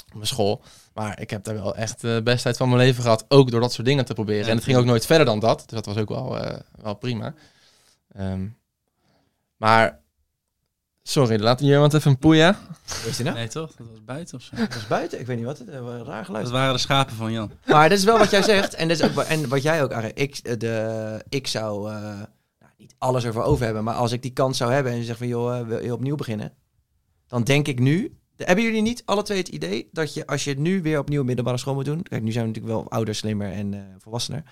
Op Mijn school. Maar ik heb daar wel echt de best tijd van mijn leven gehad. Ook door dat soort dingen te proberen. Ja. En het ging ook nooit verder dan dat. Dus dat was ook wel, eh, wel prima. Ehm, maar, sorry, laat hier iemand even een poeia. Weet je nou? Nee toch? Dat was buiten of zo. Dat was buiten. Ik weet niet wat. Het, eh, raar geluid. Dat waren de schapen van Jan. Maar dat is wel wat jij zegt. En, dat is ook, wa- en wat jij ook, Arjen. Ik, eh, de, ik zou eh, nou, niet alles ervoor over hebben. Maar als ik die kans zou hebben en je zegt van... joh, eh, wil je opnieuw beginnen? Dan denk ik nu... Hebben jullie niet alle twee het idee dat je als je het nu weer opnieuw middelbare school moet doen... Kijk, nu zijn we natuurlijk wel ouder, slimmer en eh, volwassener.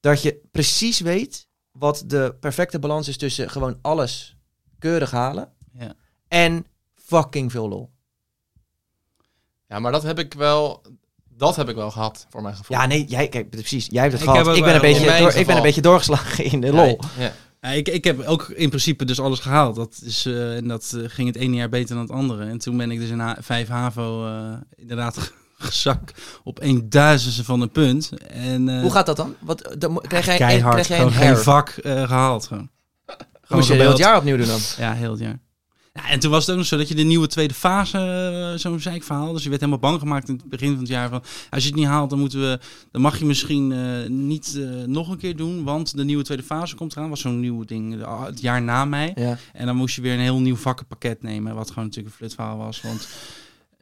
Dat je precies weet wat de perfecte balans is tussen gewoon alles keurig halen... Ja. en fucking veel lol. Ja, maar dat heb ik wel, dat heb ik wel gehad, voor mijn gevoel. Ja, nee, jij, kijk, precies. Jij hebt het Ik gehad. heb ook ik, ben een wel- in beetje mijn door, ik ben een geval. beetje doorgeslagen in de lol. Ja. Ja, ik, ik heb ook in principe dus alles gehaald. Dat is, eh, en dat eh, ging het ene jaar beter dan het andere. En toen ben ik dus in ha- 5 HAVO eh, inderdaad gezakt op een duizendste van een punt. En, eh, Hoe gaat dat dan? Wat, eh, dan mo- krijg jij, keihard, krijg jij een gewoon geen hair? vak eh, gehaald. Gewoon. Gewoon Moest je heel gebeld. het jaar opnieuw doen dan? Ja, heel het jaar. Ja, en toen was het ook nog zo dat je de nieuwe tweede fase, eh, zo'n zeikverhaal. Dus je werd helemaal bang gemaakt in het begin van het jaar. Van, als je het niet haalt, dan, moeten we, dan mag je misschien eh, niet eh, nog een keer doen. Want de nieuwe tweede fase komt eraan. was zo'n nieuw ding eh, het jaar na mij. Ja. En dan moest je weer een heel nieuw vakkenpakket nemen. Wat gewoon natuurlijk een flutverhaal was. Want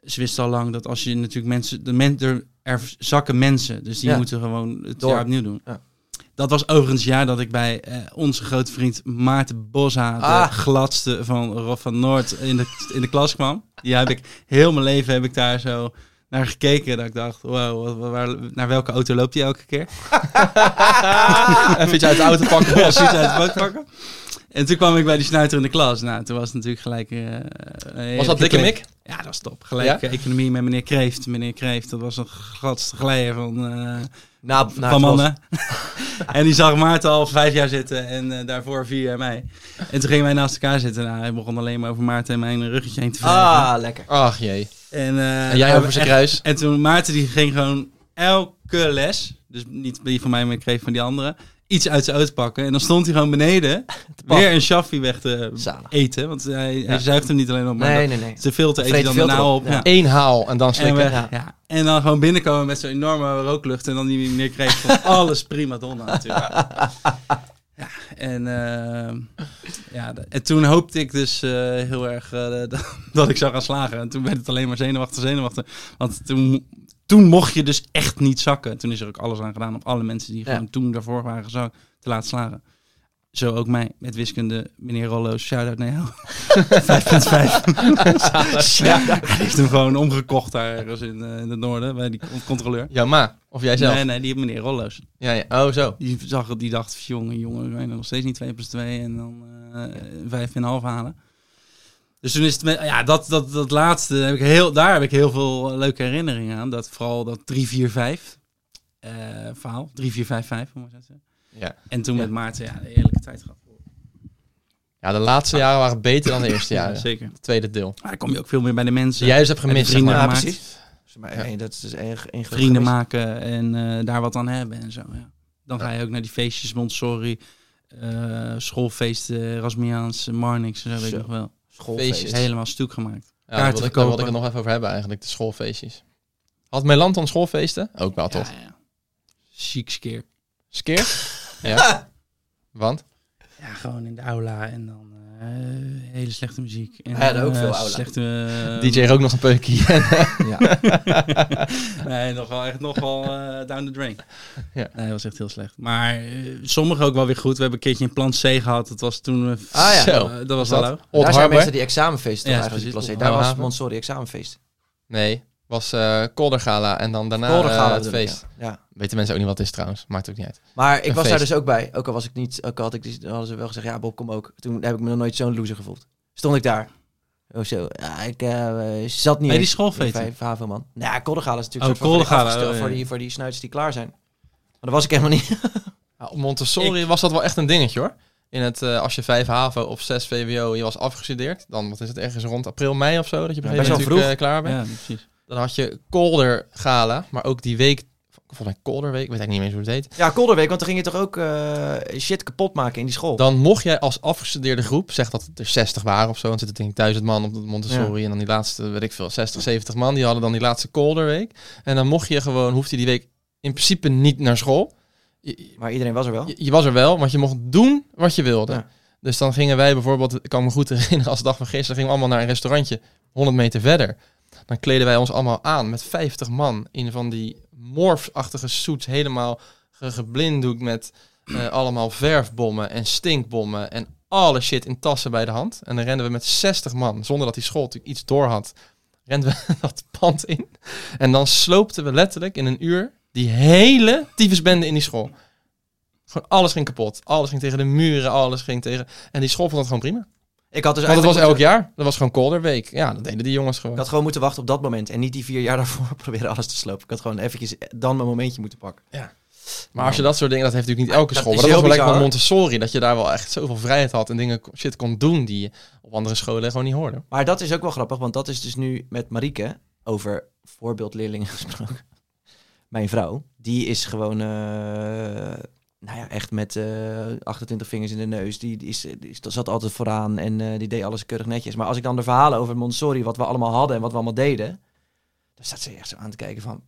ze wisten al lang dat als je natuurlijk mensen... De men, er, er zakken mensen. Dus die Ja. moeten gewoon het Door. jaar opnieuw doen. Ja. Dat was overigens het jaar dat ik bij eh, onze grote vriend Maarten Bosha... Ah. de gladste van Rob van Noord in de, in de klas kwam. Die heb ik heel mijn leven heb ik daar zo naar gekeken. Dat ik dacht, wow, wat- wat- waar, naar welke auto loopt hij elke keer? Even iets uit de auto pakken. Ja, precies uit de bak pakken. En toen kwam ik bij die snuiter in de klas. Nou, toen was het natuurlijk gelijk... eh, een Was heerlijke dat dikke klik. mik? Ja, dat is top. Gelijk eh, economie met meneer Kreeft. Meneer Kreeft, dat was een gladste glijder van, eh, Na, na het van bos. mannen. en die zag Maarten al vijf jaar zitten en eh, daarvoor vier jaar mij. En toen gingen wij naast elkaar zitten. Nou, hij begon alleen maar over Maarten en mijn ruggetje heen te vliegen. Ah, lekker. Ach jee. En, eh, En jij hij- over zijn kruis. en toen Maarten die ging gewoon elke les, dus niet die van mij, maar ik kreeg van die andere, iets uit zijn auto pakken. En dan stond hij gewoon beneden pakken. weer een chaffie weg te Zalig. eten. Want hij, Ja. hij zuigt hem niet alleen op, maar Nee, nee, nee, nee. te veel te Vreet eten hij dan veel daarna erop. op. Ja. Ja. Eén haal en dan En, slikken. we- ja. en dan gewoon binnenkomen met zo'n enorme rooklucht. En dan die meneer kreeg van alles prima donna natuurlijk. Ja, en, eh, ja, de- en toen hoopte ik dus eh, heel erg eh, dat, dat ik zou gaan slagen. En toen werd het alleen maar zenuwachtig, zenuwachtig. Want toen, toen mocht je dus echt niet zakken. Toen is er ook alles aan gedaan om alle mensen die Ja. gewoon toen daarvoor waren gezakt te laten slagen. Zo ook mij met wiskunde, meneer Rollo, shout-out naar jou. 5.5. Ja, hij heeft hem gewoon omgekocht daar ergens in, eh, in het noorden bij die con- controleur. Jouw ma, of jijzelf. Nee, nee, die heeft meneer Rollo's. Ja, ja. Oh, zo. Die zag het, die dacht, jongen, jongen, we zijn er nog steeds niet 2 plus 2 en dan eh, vijf en half halen. Dus toen is het, met, ja, dat, dat, dat laatste, heb ik heel, daar heb ik heel veel eh, leuke herinneringen aan. Dat, vooral dat 3-4-5 eh verhaal, 3-4-5-5, hoe moet je dat zeggen? Ja. En toen Ja. met Maarten, ja, de heerlijke tijd gehad. Ja, Ja, de laatste jaren waren beter dan de eerste Ja, jaren. zeker. Het tweede deel. Maar dan kom je ook veel meer bij de mensen. Die jij dus hebt gemist, zeg vrienden maar. Ja, maakt. precies. Dat is maar Ja. één- dat is dus één, één groot vrienden gemis. maken en eh, daar wat aan hebben en zo. Ja. Dan ga je ook naar die feestjes, Montessori, eh, schoolfeesten, Rasmiaans, Marnix en zo, weet ik Zo. nog wel. Schoolfeestjes. Feestjes. Helemaal stuk gemaakt. Ja, daar Kaarten wilde ik, daar wilde ik verkopen. het nog even over hebben eigenlijk, de schoolfeestjes. Had Melanton schoolfeesten? Ook wel, toch? Ja, ja. Chic skeer. Skeer? ja. Want? Ja, gewoon in de aula en dan eh, hele slechte muziek. En, Hij had ook eh, veel aula. Slechte, eh, DJ ook nog een peukie. Ja. Nee, nogal, echt nogal eh, down the drain. Ja. Nee, dat was echt heel slecht. Maar eh, sommige ook wel weer goed. We hebben een keertje een plan C gehad. Dat was toen... eh, Ah, ja. zo, eh, dat was dat? hallo. Old Daar zijn mensen Harbor? die examenfeesten Ja, ja, eigenlijk. precies. Klas Op Daar was Haven. Montessori examenfeest. Nee, was eh Koldergala en dan daarna Kolder gaan eh, we het bedoel ik, feest. Ja. Ja. Weten mensen ook niet wat het is trouwens, maakt ook niet uit. Maar ik Een was daar feest. dus ook bij. Ook al was ik niet, ook al had ik die, dan hadden ze wel gezegd, ja Bob, kom ook. Toen heb ik me nog nooit zo'n loser gevoeld. Stond ik daar. Oh zo, ja, ik eh, eh, zat niet Nee, die eens in schoolfeesten. vijf HAVO, man. Nou, ja, Koldergalen is natuurlijk Oh, soort van voor, die Koldergalen, afgestel- oh, ja. voor, die, voor die snuiters die klaar zijn. Maar dat was ik helemaal niet. Nou, op Montessori was dat wel echt een dingetje hoor. In het, eh, als je 5 HAVO of 6 VWO je was afgestudeerd, dan wat is het ergens rond april, mei of zo, dat je op een Ja, gegeven best moment wel natuurlijk, eh, klaar bent. Ja, precies. Dan had je Koldergala, maar ook die week, volgens mij Kolderweek, ik weet eigenlijk niet meer eens hoe het heet. Ja, Kolderweek, want dan ging je toch ook eh, shit kapot maken in die school. Dan mocht jij als afgestudeerde groep, zeg dat het er 60 waren of zo, want er zitten denk ik duizend man op de Montessori en dan die laatste, weet ik veel, 60, 70 man, die hadden dan die laatste Kolderweek. En dan mocht je gewoon, hoefde je die week in principe niet naar school. Je- Maar iedereen was er wel. je, je was er wel, want je mocht doen wat je wilde. Ja. Dus dan gingen wij bijvoorbeeld, ik kan me goed herinneren als de dag van gisteren, gingen we allemaal naar een restaurantje 100 meter verder. Dan kleden wij ons allemaal aan met 50 man in van die morfsachtige suits, helemaal ge- geblinddoekt met eh, allemaal verfbommen en stinkbommen en alle shit in tassen bij de hand. En dan renden we met 60 man, zonder dat die school natuurlijk iets door had, renden we dat pand in. En dan sloopten we letterlijk in een uur die hele tyfusbende in die school. Gewoon alles ging kapot. Alles ging tegen de muren, alles ging tegen... En die school vond dat gewoon prima. Ik had dus Want dat was eigenlijk elk moeten- jaar. Dat was gewoon kolderweek. Ja, dat deden die jongens Ik gewoon. had gewoon moeten wachten op dat moment. En niet die vier jaar daarvoor proberen alles te slopen. Ik had gewoon eventjes dan mijn momentje moeten pakken. Maar als je dat soort dingen... Dat heeft natuurlijk niet elke Dat school. is Maar dat was wel heel lekker van bizar. Montessori. Dat je daar wel echt zoveel vrijheid had. En dingen shit kon doen die je op andere scholen gewoon niet hoorde. Maar dat is ook wel grappig, want dat is dus nu met Marieke over voorbeeldleerlingen gesproken. Mijn vrouw, die is gewoon, eh, nou ja, echt met eh, 28 vingers in de neus. Die, die, is, die is- zat altijd vooraan en eh, die deed alles keurig netjes. Maar als ik dan de verhalen over Montessori, wat we allemaal hadden en wat we allemaal deden, dan staat ze echt zo aan te kijken van,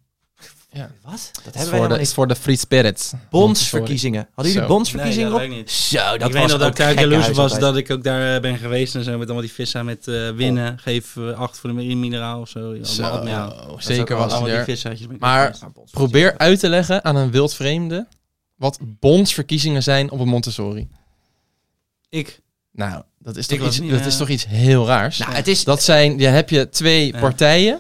Ja. wat? Het is Dat hebben voor de, wij helemaal het is niet. voor de Free Spirits. Bondsverkiezingen. Hadden jullie Zo. bondsverkiezingen op? niet. Zo, dat ik weet was dat ik ook daar gekke jaloers was huisarbeid. dat ik ook daar eh, ben geweest en zo met allemaal die vissen met eh, winnen, geef eh, acht voor de mineraal of zo. Ja, Zo, allemaal op- ja. zeker ook wel was Allemaal hij die er. vissertjes. ben ik Maar- geweest. Nou, bondsverkiezingen. Probeer uit te leggen aan een wildvreemde... wat bondsverkiezingen zijn op een Montessori. ik, Nou, dat is Ik toch, was iets, niet, dat eh, is toch iets heel raars? Nou, het is, Dat zijn, je heb je twee Ja. partijen.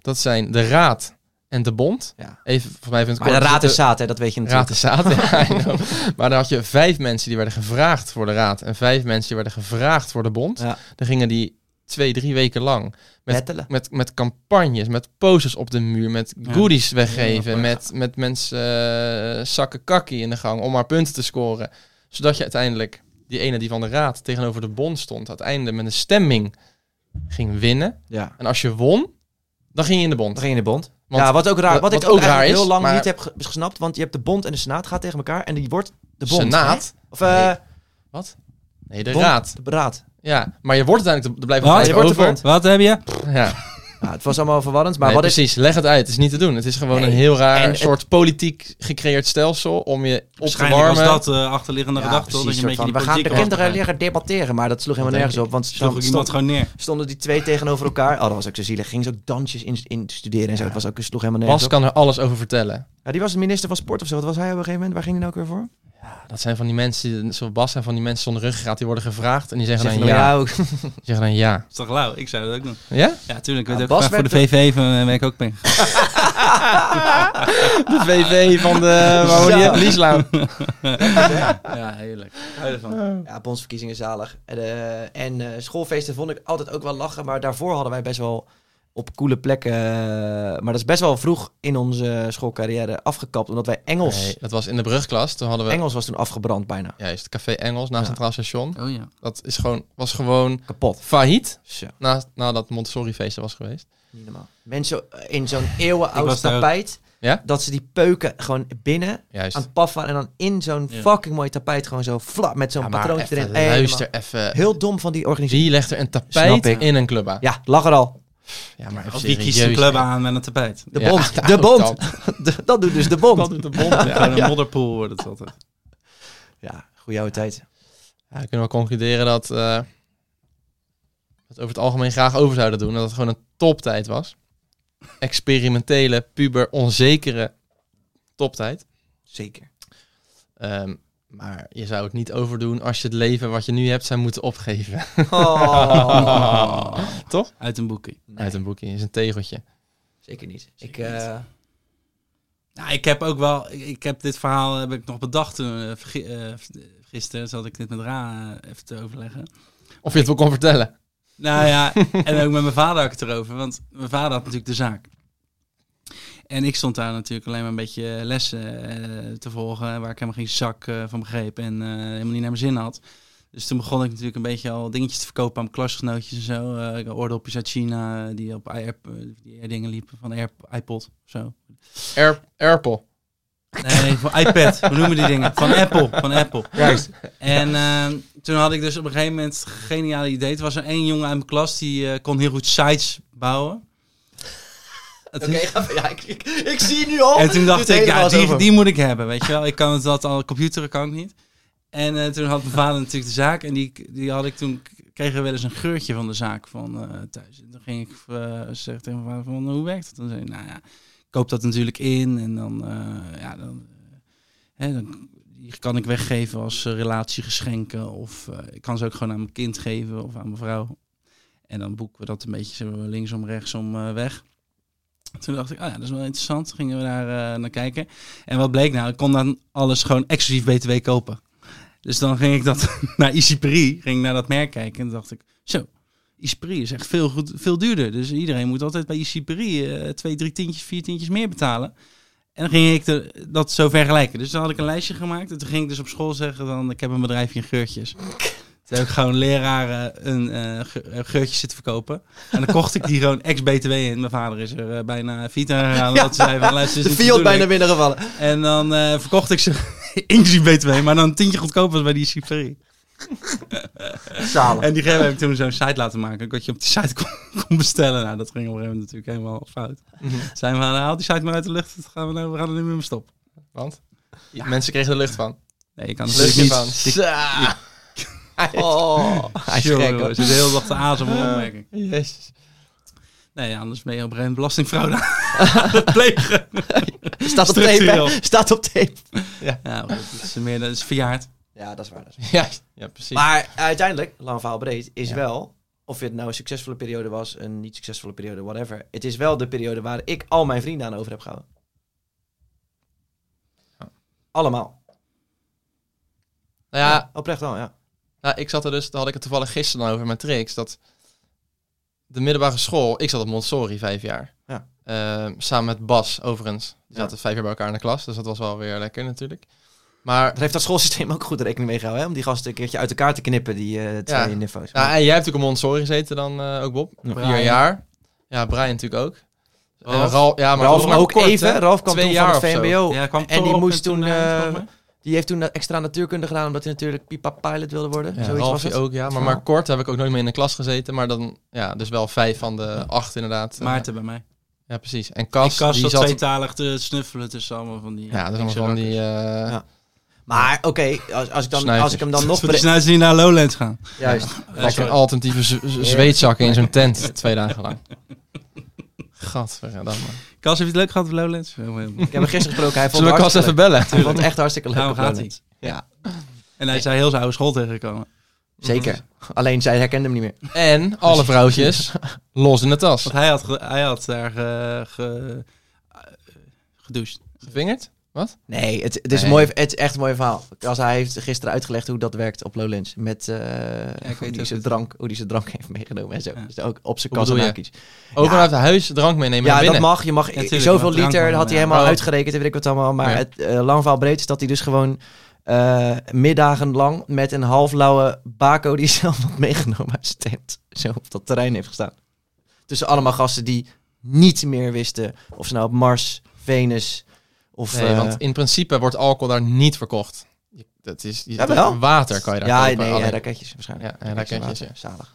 Dat zijn de Raad en de Bond. Ja. Even, volgens mij even het maar de kort, raad er is zaad, hè, dat weet je zitten- natuurlijk. Raad is zaad. ja, I know. Maar dan had je vijf mensen die werden gevraagd voor de Raad. En vijf mensen die werden gevraagd voor de Bond. Ja. Dan gingen die twee, drie weken lang Bettelen. met, met campagnes, met posters op de muur, met Ja. goodies weggeven, Ja, met, met mensen eh, zakken kakkie in de gang om maar punten te scoren. Zodat je uiteindelijk die ene die van de raad tegenover de bond stond, uiteindelijk met een stemming ging winnen. Ja. En als je won, dan ging je in de Dan bond. ging je in de bond. Want- ja, wat ook raar, wat- wat, wat ik ook ook raar raar is, heel lang maar- niet heb ge- gesnapt, want je hebt de bond en de senaat gaat tegen elkaar en die wordt de bond. Senaat? hè? Of eh, Nee, Wat? Nee, de bond, raad. De raad. Ja, maar je wordt uiteindelijk de, de wat, blijft je wordt de over, bond. wat heb je? Ja, Ja, het was allemaal verwarrend, maar maar wat is precies. Leg het uit. Het is niet te doen. Het is gewoon Nee. een heel En raar het- soort politiek gecreëerd stelsel om je op te Waarschijnlijk was warmen. dat eh, achterliggende Ja, gedachte. precies, dat je een soort van, beetje die we gaan de politiek erachter kinderen gaat. leren debatteren, maar dat sloeg helemaal denk nergens op, want Sloeg dan ik stond- iemand gewoon neer. stonden die twee tegenover elkaar. Oh, dat was ook zo zielig. Gingen ze ook dansjes in, in studeren en zo. Het was ook, het sloeg helemaal nergens Bas op. kan er alles over vertellen. Ja, die was minister van sport of zo. Wat was hij op een gegeven moment? Waar ging hij nou ook weer voor? Ah, Dat zijn van die mensen, die- zoals Bas zijn van die mensen zonder ruggengraat, die worden gevraagd en die zeggen, Zeggen dan we, ja. ook. Die zeggen dan ja. Dat is toch lauw? Ik zou dat ook doen. Ja? Ja, tuurlijk. Ik Ja, werd ook Bas gevraagd voor de werd VV en ben ik eh, ook ben. De VV van de waar woon je? Lieslaan. Ja, heerlijk. Ja, bondsverkiezingen zalig. En, eh, en eh, schoolfeesten vond ik altijd ook wel lachen. Maar daarvoor hadden wij best wel op coole plekken. eh, Maar dat is best wel vroeg in onze schoolcarrière afgekapt, omdat wij Engels... Nee, dat was in de brugklas. Toen hadden we Engels was toen afgebrand bijna. juist café Engels naast Ja. Centraal Station. Oh ja. Dat is gewoon, was gewoon Kapot. failliet Zo, na, nadat Montessori feest er was geweest. niet normaal. Mensen eh, in zo'n eeuwenoud was daar ook. tapijt, Ja? dat ze die peuken gewoon binnen Juist. aan het paffen en dan in zo'n Ja. fucking mooi tapijt gewoon zo flap met zo'n Ja, maar patroontje even erin. Luister Helemaal- even. Heel dom van die organisatie. Wie legt er een Snap tapijt ik. in een club aan? Ja, lag er al. Ja, maar Als die kiest een club aan met een tapijt. De Ja, bond. de nou, bond. De- dat doet dus de bond. Dat doet de bond. Ja. Gewoon een modderpoel wordt het altijd. Ja, goede oude tijd. Ja, dan kunnen we concluderen dat eh, we het over het algemeen graag over zouden doen. En dat het gewoon een toptijd was. Experimentele, puber, onzekere toptijd. Zeker. Ehm, maar je zou het niet overdoen als je het leven wat je nu hebt zou moeten opgeven. Oh. Toch? Uit een boekje. Nee, Uit een boekje, is een tegeltje. zeker niet. Ik, Zeker niet. eh, Nou, ik heb ook wel, ik- ik heb dit verhaal heb ik nog bedacht toen, eh, vergi- eh, v- gisteren zat ik dit met Ra eh, even te overleggen. Of je het wel kon vertellen. Nou ja, en ook met mijn vader had ik het erover, want mijn vader had natuurlijk de zaak. En ik stond daar natuurlijk alleen maar een beetje lessen eh, te volgen, waar ik helemaal geen zak eh, van begreep en eh, helemaal niet naar mijn zin had. Dus toen begon ik natuurlijk een beetje al dingetjes te verkopen aan mijn klasgenootjes en zo. Eh, ik had oordopjes uit China eh, die op Air, die dingen liepen van Air, iPod of zo. Air, Airpel. Nee, van iPad. Hoe noemen die dingen? Van Apple. Van Apple. En ehm, toen had ik dus op een gegeven moment een geniale idee. Er was er één jongen uit mijn klas die eh, kon heel goed sites bouwen. Het Oké, is- ga- ja, ik, ik, ik zie nu al. En toen dacht Dit ik, hele ja, was die, over. die moet ik hebben, weet je wel. Ik kan het dat al computeren kan ik niet. En eh, toen had mijn vader natuurlijk de zaak en die, die had ik toen kregen we wel eens een geurtje van de zaak van eh, thuis. En toen ging ik eh zeggen tegen mijn vader van hoe werkt dat? Dan zei hij, nou ja, ik koop dat natuurlijk in en dan, eh, ja, dan, eh, hè, dan die kan ik weggeven als eh, relatiegeschenken of eh, ik kan ze ook gewoon aan mijn kind geven of aan mijn vrouw. En dan boeken we dat een beetje zo linksom, rechtsom eh, weg. Toen dacht ik, oh ja, dat is wel interessant. Toen gingen we daar eh, naar kijken. En wat bleek nou? Ik kon dan alles gewoon exclusief BTW kopen. Dus dan ging ik dat naar Isipri, ging ik naar dat merk kijken. En dacht ik, zo, Isipri is echt veel, goed, veel duurder. Dus iedereen moet altijd bij Isipri eh, twee, drie tientjes, vier tientjes meer betalen. En dan ging ik de- dat zo vergelijken. Dus dan had ik een lijstje gemaakt. En toen ging ik dus op school zeggen dan, ik heb een bedrijfje in geurtjes. Toen heb ik gewoon leraren een eh, ge- eh, geurtje zitten verkopen. En dan kocht ik die gewoon ex-BTW in. Mijn vader is er eh, bijna Vita gegaan. omdat ze zei van, luister, dit De is niet field de bedoeling. bijna binnengevallen. En dan eh, verkocht ik ze inclusief BTW, maar dan een tientje goedkoper was bij die Cypri. Zalen. En die hebben toen zo'n site laten maken, dat je op die site kon, kon bestellen. Nou, dat ging op een gegeven moment natuurlijk helemaal fout. Zijn we aan, haal die site maar uit de lucht, dat gaan we, nou, we gaan er niet meer mee stoppen. Want mensen kregen er lucht van. Nee, je kan Lucht natuurlijk niet. van. Die- Oh, hij is Tjonge, gek, hoor. Ze de hele dag te aas om een opmerking. Jezus. Nee, anders ben je op een gegeven moment belastingfraude aan het plegen. Staat op tape. Structureel. hè? Staat op tape. Ja, goed, dat is, meer, dat is verjaard. Ja, dat is waar. Ja, ja precies. Maar uiteindelijk, lang verhaal breed, is Ja. wel, of het nou een succesvolle periode was, een niet succesvolle periode, whatever. Het is wel de periode waar ik al mijn vrienden aan over heb gehouden. Ja. Allemaal. nou ja, Oprecht wel, ja. Nou, ik zat er dus, daar had ik het toevallig gisteren al over met Trix, dat de middelbare school, ik zat op Montessori vijf jaar. Ja. Ehm, samen met Bas, overigens. Die Ja. zaten vijf jaar bij elkaar in de klas, dus dat was wel weer lekker natuurlijk. Maar Daar heeft dat schoolsysteem ook goed rekening mee gehouden, hè? Om die gasten een keertje uit elkaar te knippen, die eh twee niveaus. nou, en jij hebt natuurlijk op Montessori gezeten dan eh, ook, Bob. Ja. Vier jaar. Ja, Brian natuurlijk ook. En Ralf. Ralf, ja, maar Ralf dat was maar ook kort, even. hè? Ralf kwam Twee toen van jaar het of zo. VMBO. Ja, kwam Oh, en die Torop moest toen, eh, eh, volgens mij. Die heeft toen extra natuurkunde gedaan, omdat hij natuurlijk pipa pilot wilde worden. Ja, Zoiets was Ralfie het. Oh. ook, ja. Maar, maar kort heb ik ook nooit meer in de klas gezeten. Maar dan, ja, dus wel vijf van de acht inderdaad. Maarten bij mij. Ja, precies. En Kas, Cas, ik kast die zat zat... tweetalig te snuffelen tussen allemaal van die... ja, dat is allemaal linkse van die... rakkers. eh, Ja. Maar oké, als, als, ik dan- Snuiters. als ik hem dan nog... Zullen we bre- snel niet naar Lowlands gaan? Juist. Lekker Oh. alternatieve z- z- zweetzakken in zo'n tent twee dagen lang. Gadverdamme. Kas, heb je het leuk gehad op Lowlands? Heel, heel mooi. Ik heb hem gisteren gesproken, hij vond Zullen we het Cas hartstikke even bellen? Nou, leuk. Hij vond het echt hartstikke leuk. Daarom op gaat Lowlands. hij. Ja, En hij is daar heel zijn oude school tegengekomen. zeker. Alleen zij herkende hem niet meer. En Mhm. alle vrouwtjes los in de tas. Want hij had, ge- hij had daar ge, ge- eh, gedoucht. Gevingerd? Wat? Nee, het, het is Nee. Mooi, het is echt een mooi verhaal. Als hij heeft gisteren uitgelegd hoe dat werkt op Lowlands. Met eh, hoe, weet die ook zijn het. drank, hoe die zijn drank heeft meegenomen en zo. Ja. Dus ook op zijn Hoe bedoel je? kassenhaakjes. Ook vanuit huis drank meenemen Ja, naar dat binnen. mag. Je mag tuurlijk, zoveel maar drank liter mag wel, had hij ja. helemaal Oh. uitgerekend en weet ik wat allemaal. Maar Ja. het eh, lang verhaal breed is dat hij dus gewoon eh, middagen lang met een half lauwe bako die hij zelf had meegenomen uit zijn tent. Zo op dat terrein heeft gestaan. Tussen allemaal gasten die niet meer wisten of ze nou op Mars, Venus of... Nee, eh, want in principe wordt alcohol daar niet verkocht. Je- Dat is, je- Jawel. water kan je daar ja, kopen. nee, ja, alleen. raketjes waarschijnlijk. Ja, ja, raketjes, ja. Zalig.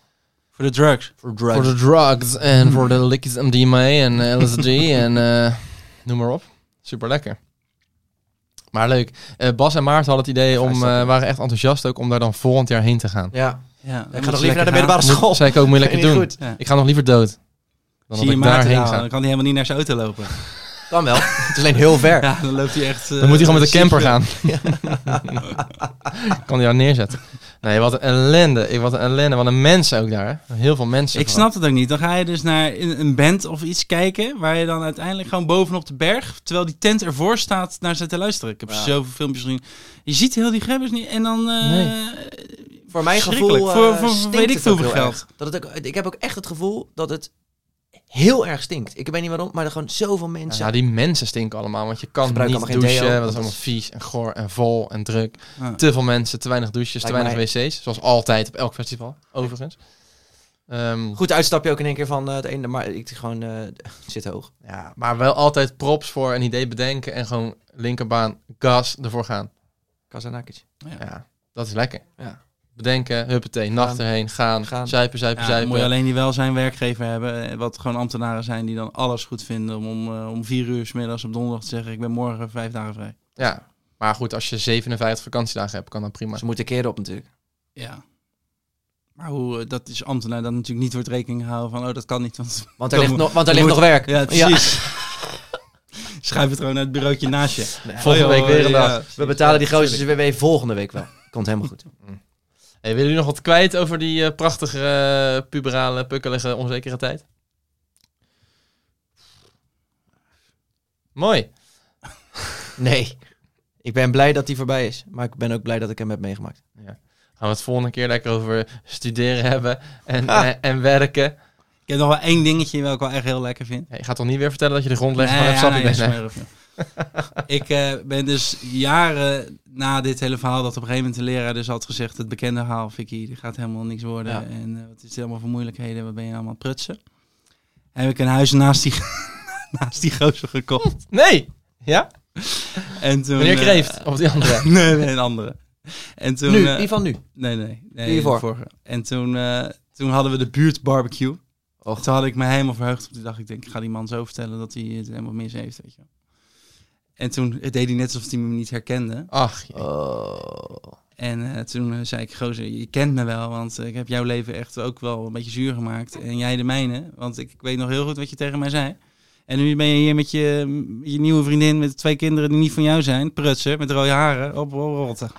Voor de drugs. Voor Voor de drugs en voor de likjes MDMA en eh, LSD en eh, noem maar op. Super lekker. Maar leuk. Eh, Bas en Maarten hadden het idee om, stappen, eh, ja. waren echt enthousiast ook om daar dan volgend jaar heen te gaan. Ja, Ja, ik ga nog liever naar de middelbare Moet- school. Zei ik ook, moet je lekker Vind ik doen. niet Ja. Ik ga nog liever dood. Dan Zie dat je ik Maarten daarheen nou, ga. dan kan hij helemaal niet naar zijn auto lopen. Kan wel. Het is alleen heel ver. Ja, dan loopt hij echt... eh, Dan moet hij gewoon met de eh, camper gaan. kan hij daar neerzetten. Nee, wat een ellende. Ik- Wat een ellende. Wat een mensen ook daar. hè. Heel veel mensen. Ik gewoon. snap het ook niet. Dan ga je dus naar een een band of iets kijken, waar je dan uiteindelijk gewoon bovenop de berg, terwijl die tent ervoor staat, naar zit te luisteren. Ik heb Ja. zoveel filmpjes gezien. Je ziet heel die grebbers niet en dan... eh, Voor mijn gevoel Verschrikkelijk. eh, Voor- voor- voor stinkt weet ik het ook veel heel geld. erg. Dat het ook, ik heb ook echt het gevoel dat het heel erg stinkt. Ik weet niet waarom, maar er gewoon zoveel Ja, mensen. ja, die mensen stinken allemaal, want je kan Gebruik niet allemaal geen douchen. deo, want dat is dat allemaal is- vies en goor en vol en druk. Ja. Te veel mensen, te weinig douches, te Lijkt weinig wc's. Zoals altijd op elk festival, overigens. Ehm, Goed uitstap je ook in één keer van eh, het ene, maar ik gewoon eh, het zit hoog. ja, maar wel altijd props voor een idee bedenken en gewoon linkerbaan, gas, ervoor gaan. Kazanakic. Ja, dat is lekker. Ja. Bedenken, huppatee, nacht Gaan. erheen, gaan, Gaan. zuipen, zuipen, Ja, dan zuipen. moet je alleen die wel zijn werkgever hebben, eh, wat gewoon ambtenaren zijn die dan alles goed vinden om om, eh, om vier uur 's middags op donderdag te zeggen, ik ben morgen vijf dagen vrij. Ja, maar goed, als je 57 vakantiedagen hebt, kan dat prima. Ze moeten keren op natuurlijk. Ja. Maar hoe, eh, dat is ambtenaar dat natuurlijk niet wordt rekening houden van, oh dat kan niet, want Want er Dan ligt, moet- nog, want er dan ligt nog moet- werk. Ja, precies. Schuif het gewoon naar het bureautje naast je. Volgende Oh, week joh, weer een ja. dag. We betalen die Ja, gozer dus weer volgende week wel. Komt helemaal goed. Hey, willen jullie nog wat kwijt over die eh, prachtige, eh, puberale, pukkelige, onzekere tijd? Mooi. Nee. Ik ben blij dat die voorbij is. Maar ik ben ook blij dat ik hem heb meegemaakt. Gaan we het volgende keer lekker over studeren hebben en, en, en werken. Ik heb nog wel één dingetje wat ik wel echt heel lekker vind. Hey, je gaat toch niet weer vertellen dat je de grondlegger Nee, van het ja, sappie nee, bent? hè? smerig, joh. ik eh, ben dus jaren na dit hele verhaal dat op een gegeven moment de leraar dus had gezegd... het bekende verhaal, Vicky, dit gaat helemaal niks worden. Ja. En eh, wat is dit allemaal voor moeilijkheden? Wat ben je allemaal aan het prutsen? Heb ik een huis naast die, naast die gozer gekocht. Nee! Ja? En toen, Meneer eh, Kreeft of die andere? nee, nee, een andere. En toen, nu, eh, die van nu. Nee, nee. nee Die hiervoor. de vorige. En toen, eh, toen hadden we de buurt barbecue. Och. Toen had ik me helemaal verheugd op die dag. Ik denk, ik ga die man zo vertellen dat hij het helemaal mis heeft. Weet je. wel. En toen deed hij net alsof hij me niet herkende. Ach, jee. Oh. En eh, toen eh, zei ik, gozer, je kent me wel, want eh, ik heb jouw leven echt ook wel een beetje zuur gemaakt. En jij de mijne, want ik, ik weet nog heel goed wat je tegen mij zei. En nu ben je hier met je, met je nieuwe vriendin, met twee kinderen die niet van jou zijn. Prutsen, met rode haren, op, op rotten.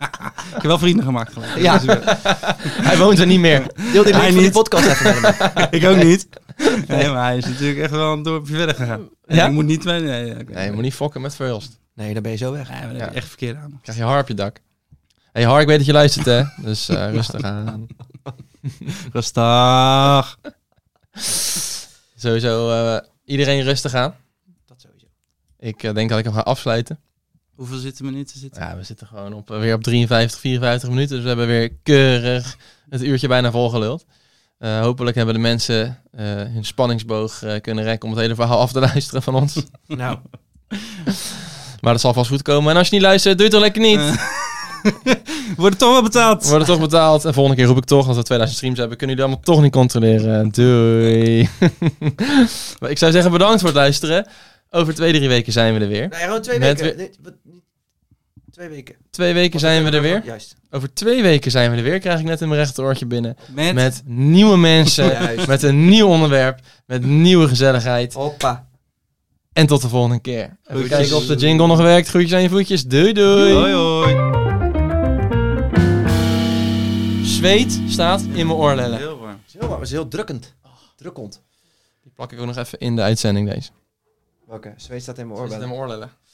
ik heb wel vrienden gemaakt. Gelijk. Ja. Dus, eh, hij woont er niet meer. Deel die Hij link van die niet. podcast even met hem. ik ook niet. Nee, maar hij is natuurlijk echt wel een dorpje verder gegaan. En Ja? Ik moet niet... Nee, nee, oké. Nee, je moet niet fokken met Verhulst. Nee, dan ben je zo weg. Nee, maar dat heb je Ja. echt verkeerd aan. Krijg je haar op je dak. hey, Har, ik weet dat je luistert, hè? Dus eh, rustig aan. Rustig. Sowieso eh, iedereen rustig aan. Dat sowieso. Ik eh, denk dat ik hem ga afsluiten. Hoeveel zitten minuten zitten? Ja, we zitten gewoon op, eh, weer op 53, 54 minuten. Dus we hebben weer keurig het uurtje bijna volgeluld. Eh, hopelijk hebben de mensen eh, hun spanningsboog eh, kunnen rekken om het hele verhaal af te luisteren van ons. Nou, Maar dat zal vast goed komen. En als je niet luistert, doe het toch lekker niet. Eh. Wordt toch wel betaald. We worden toch betaald. En volgende keer roep ik toch, als we 2000 streams hebben, kunnen jullie allemaal toch niet controleren. Doei. maar ik zou zeggen bedankt voor het luisteren. Over twee, drie weken zijn we er weer. nou ja, gewoon twee Met weken. Dit- wat- niet- twee weken. Twee weken Wat zijn we ik- er weer. Juist. Over twee weken zijn we er weer. Krijg ik net in mijn rechteroortje binnen. Met, Met nieuwe mensen. Juist. Met een nieuw onderwerp. Met nieuwe gezelligheid. Hoppa. En tot de volgende keer. Even Groetjes. kijken of de jingle nog werkt. Groetjes aan je voetjes. Doei doei. Hoi hoi. Zweet staat in mijn oorlellen. Heel warm. Zo, maar het is heel drukkend. Drukkend. Die plak ik ook nog even in de uitzending deze. Welke? Zweet staat in mijn Zweet staat in oorbellen. mijn oorlellen.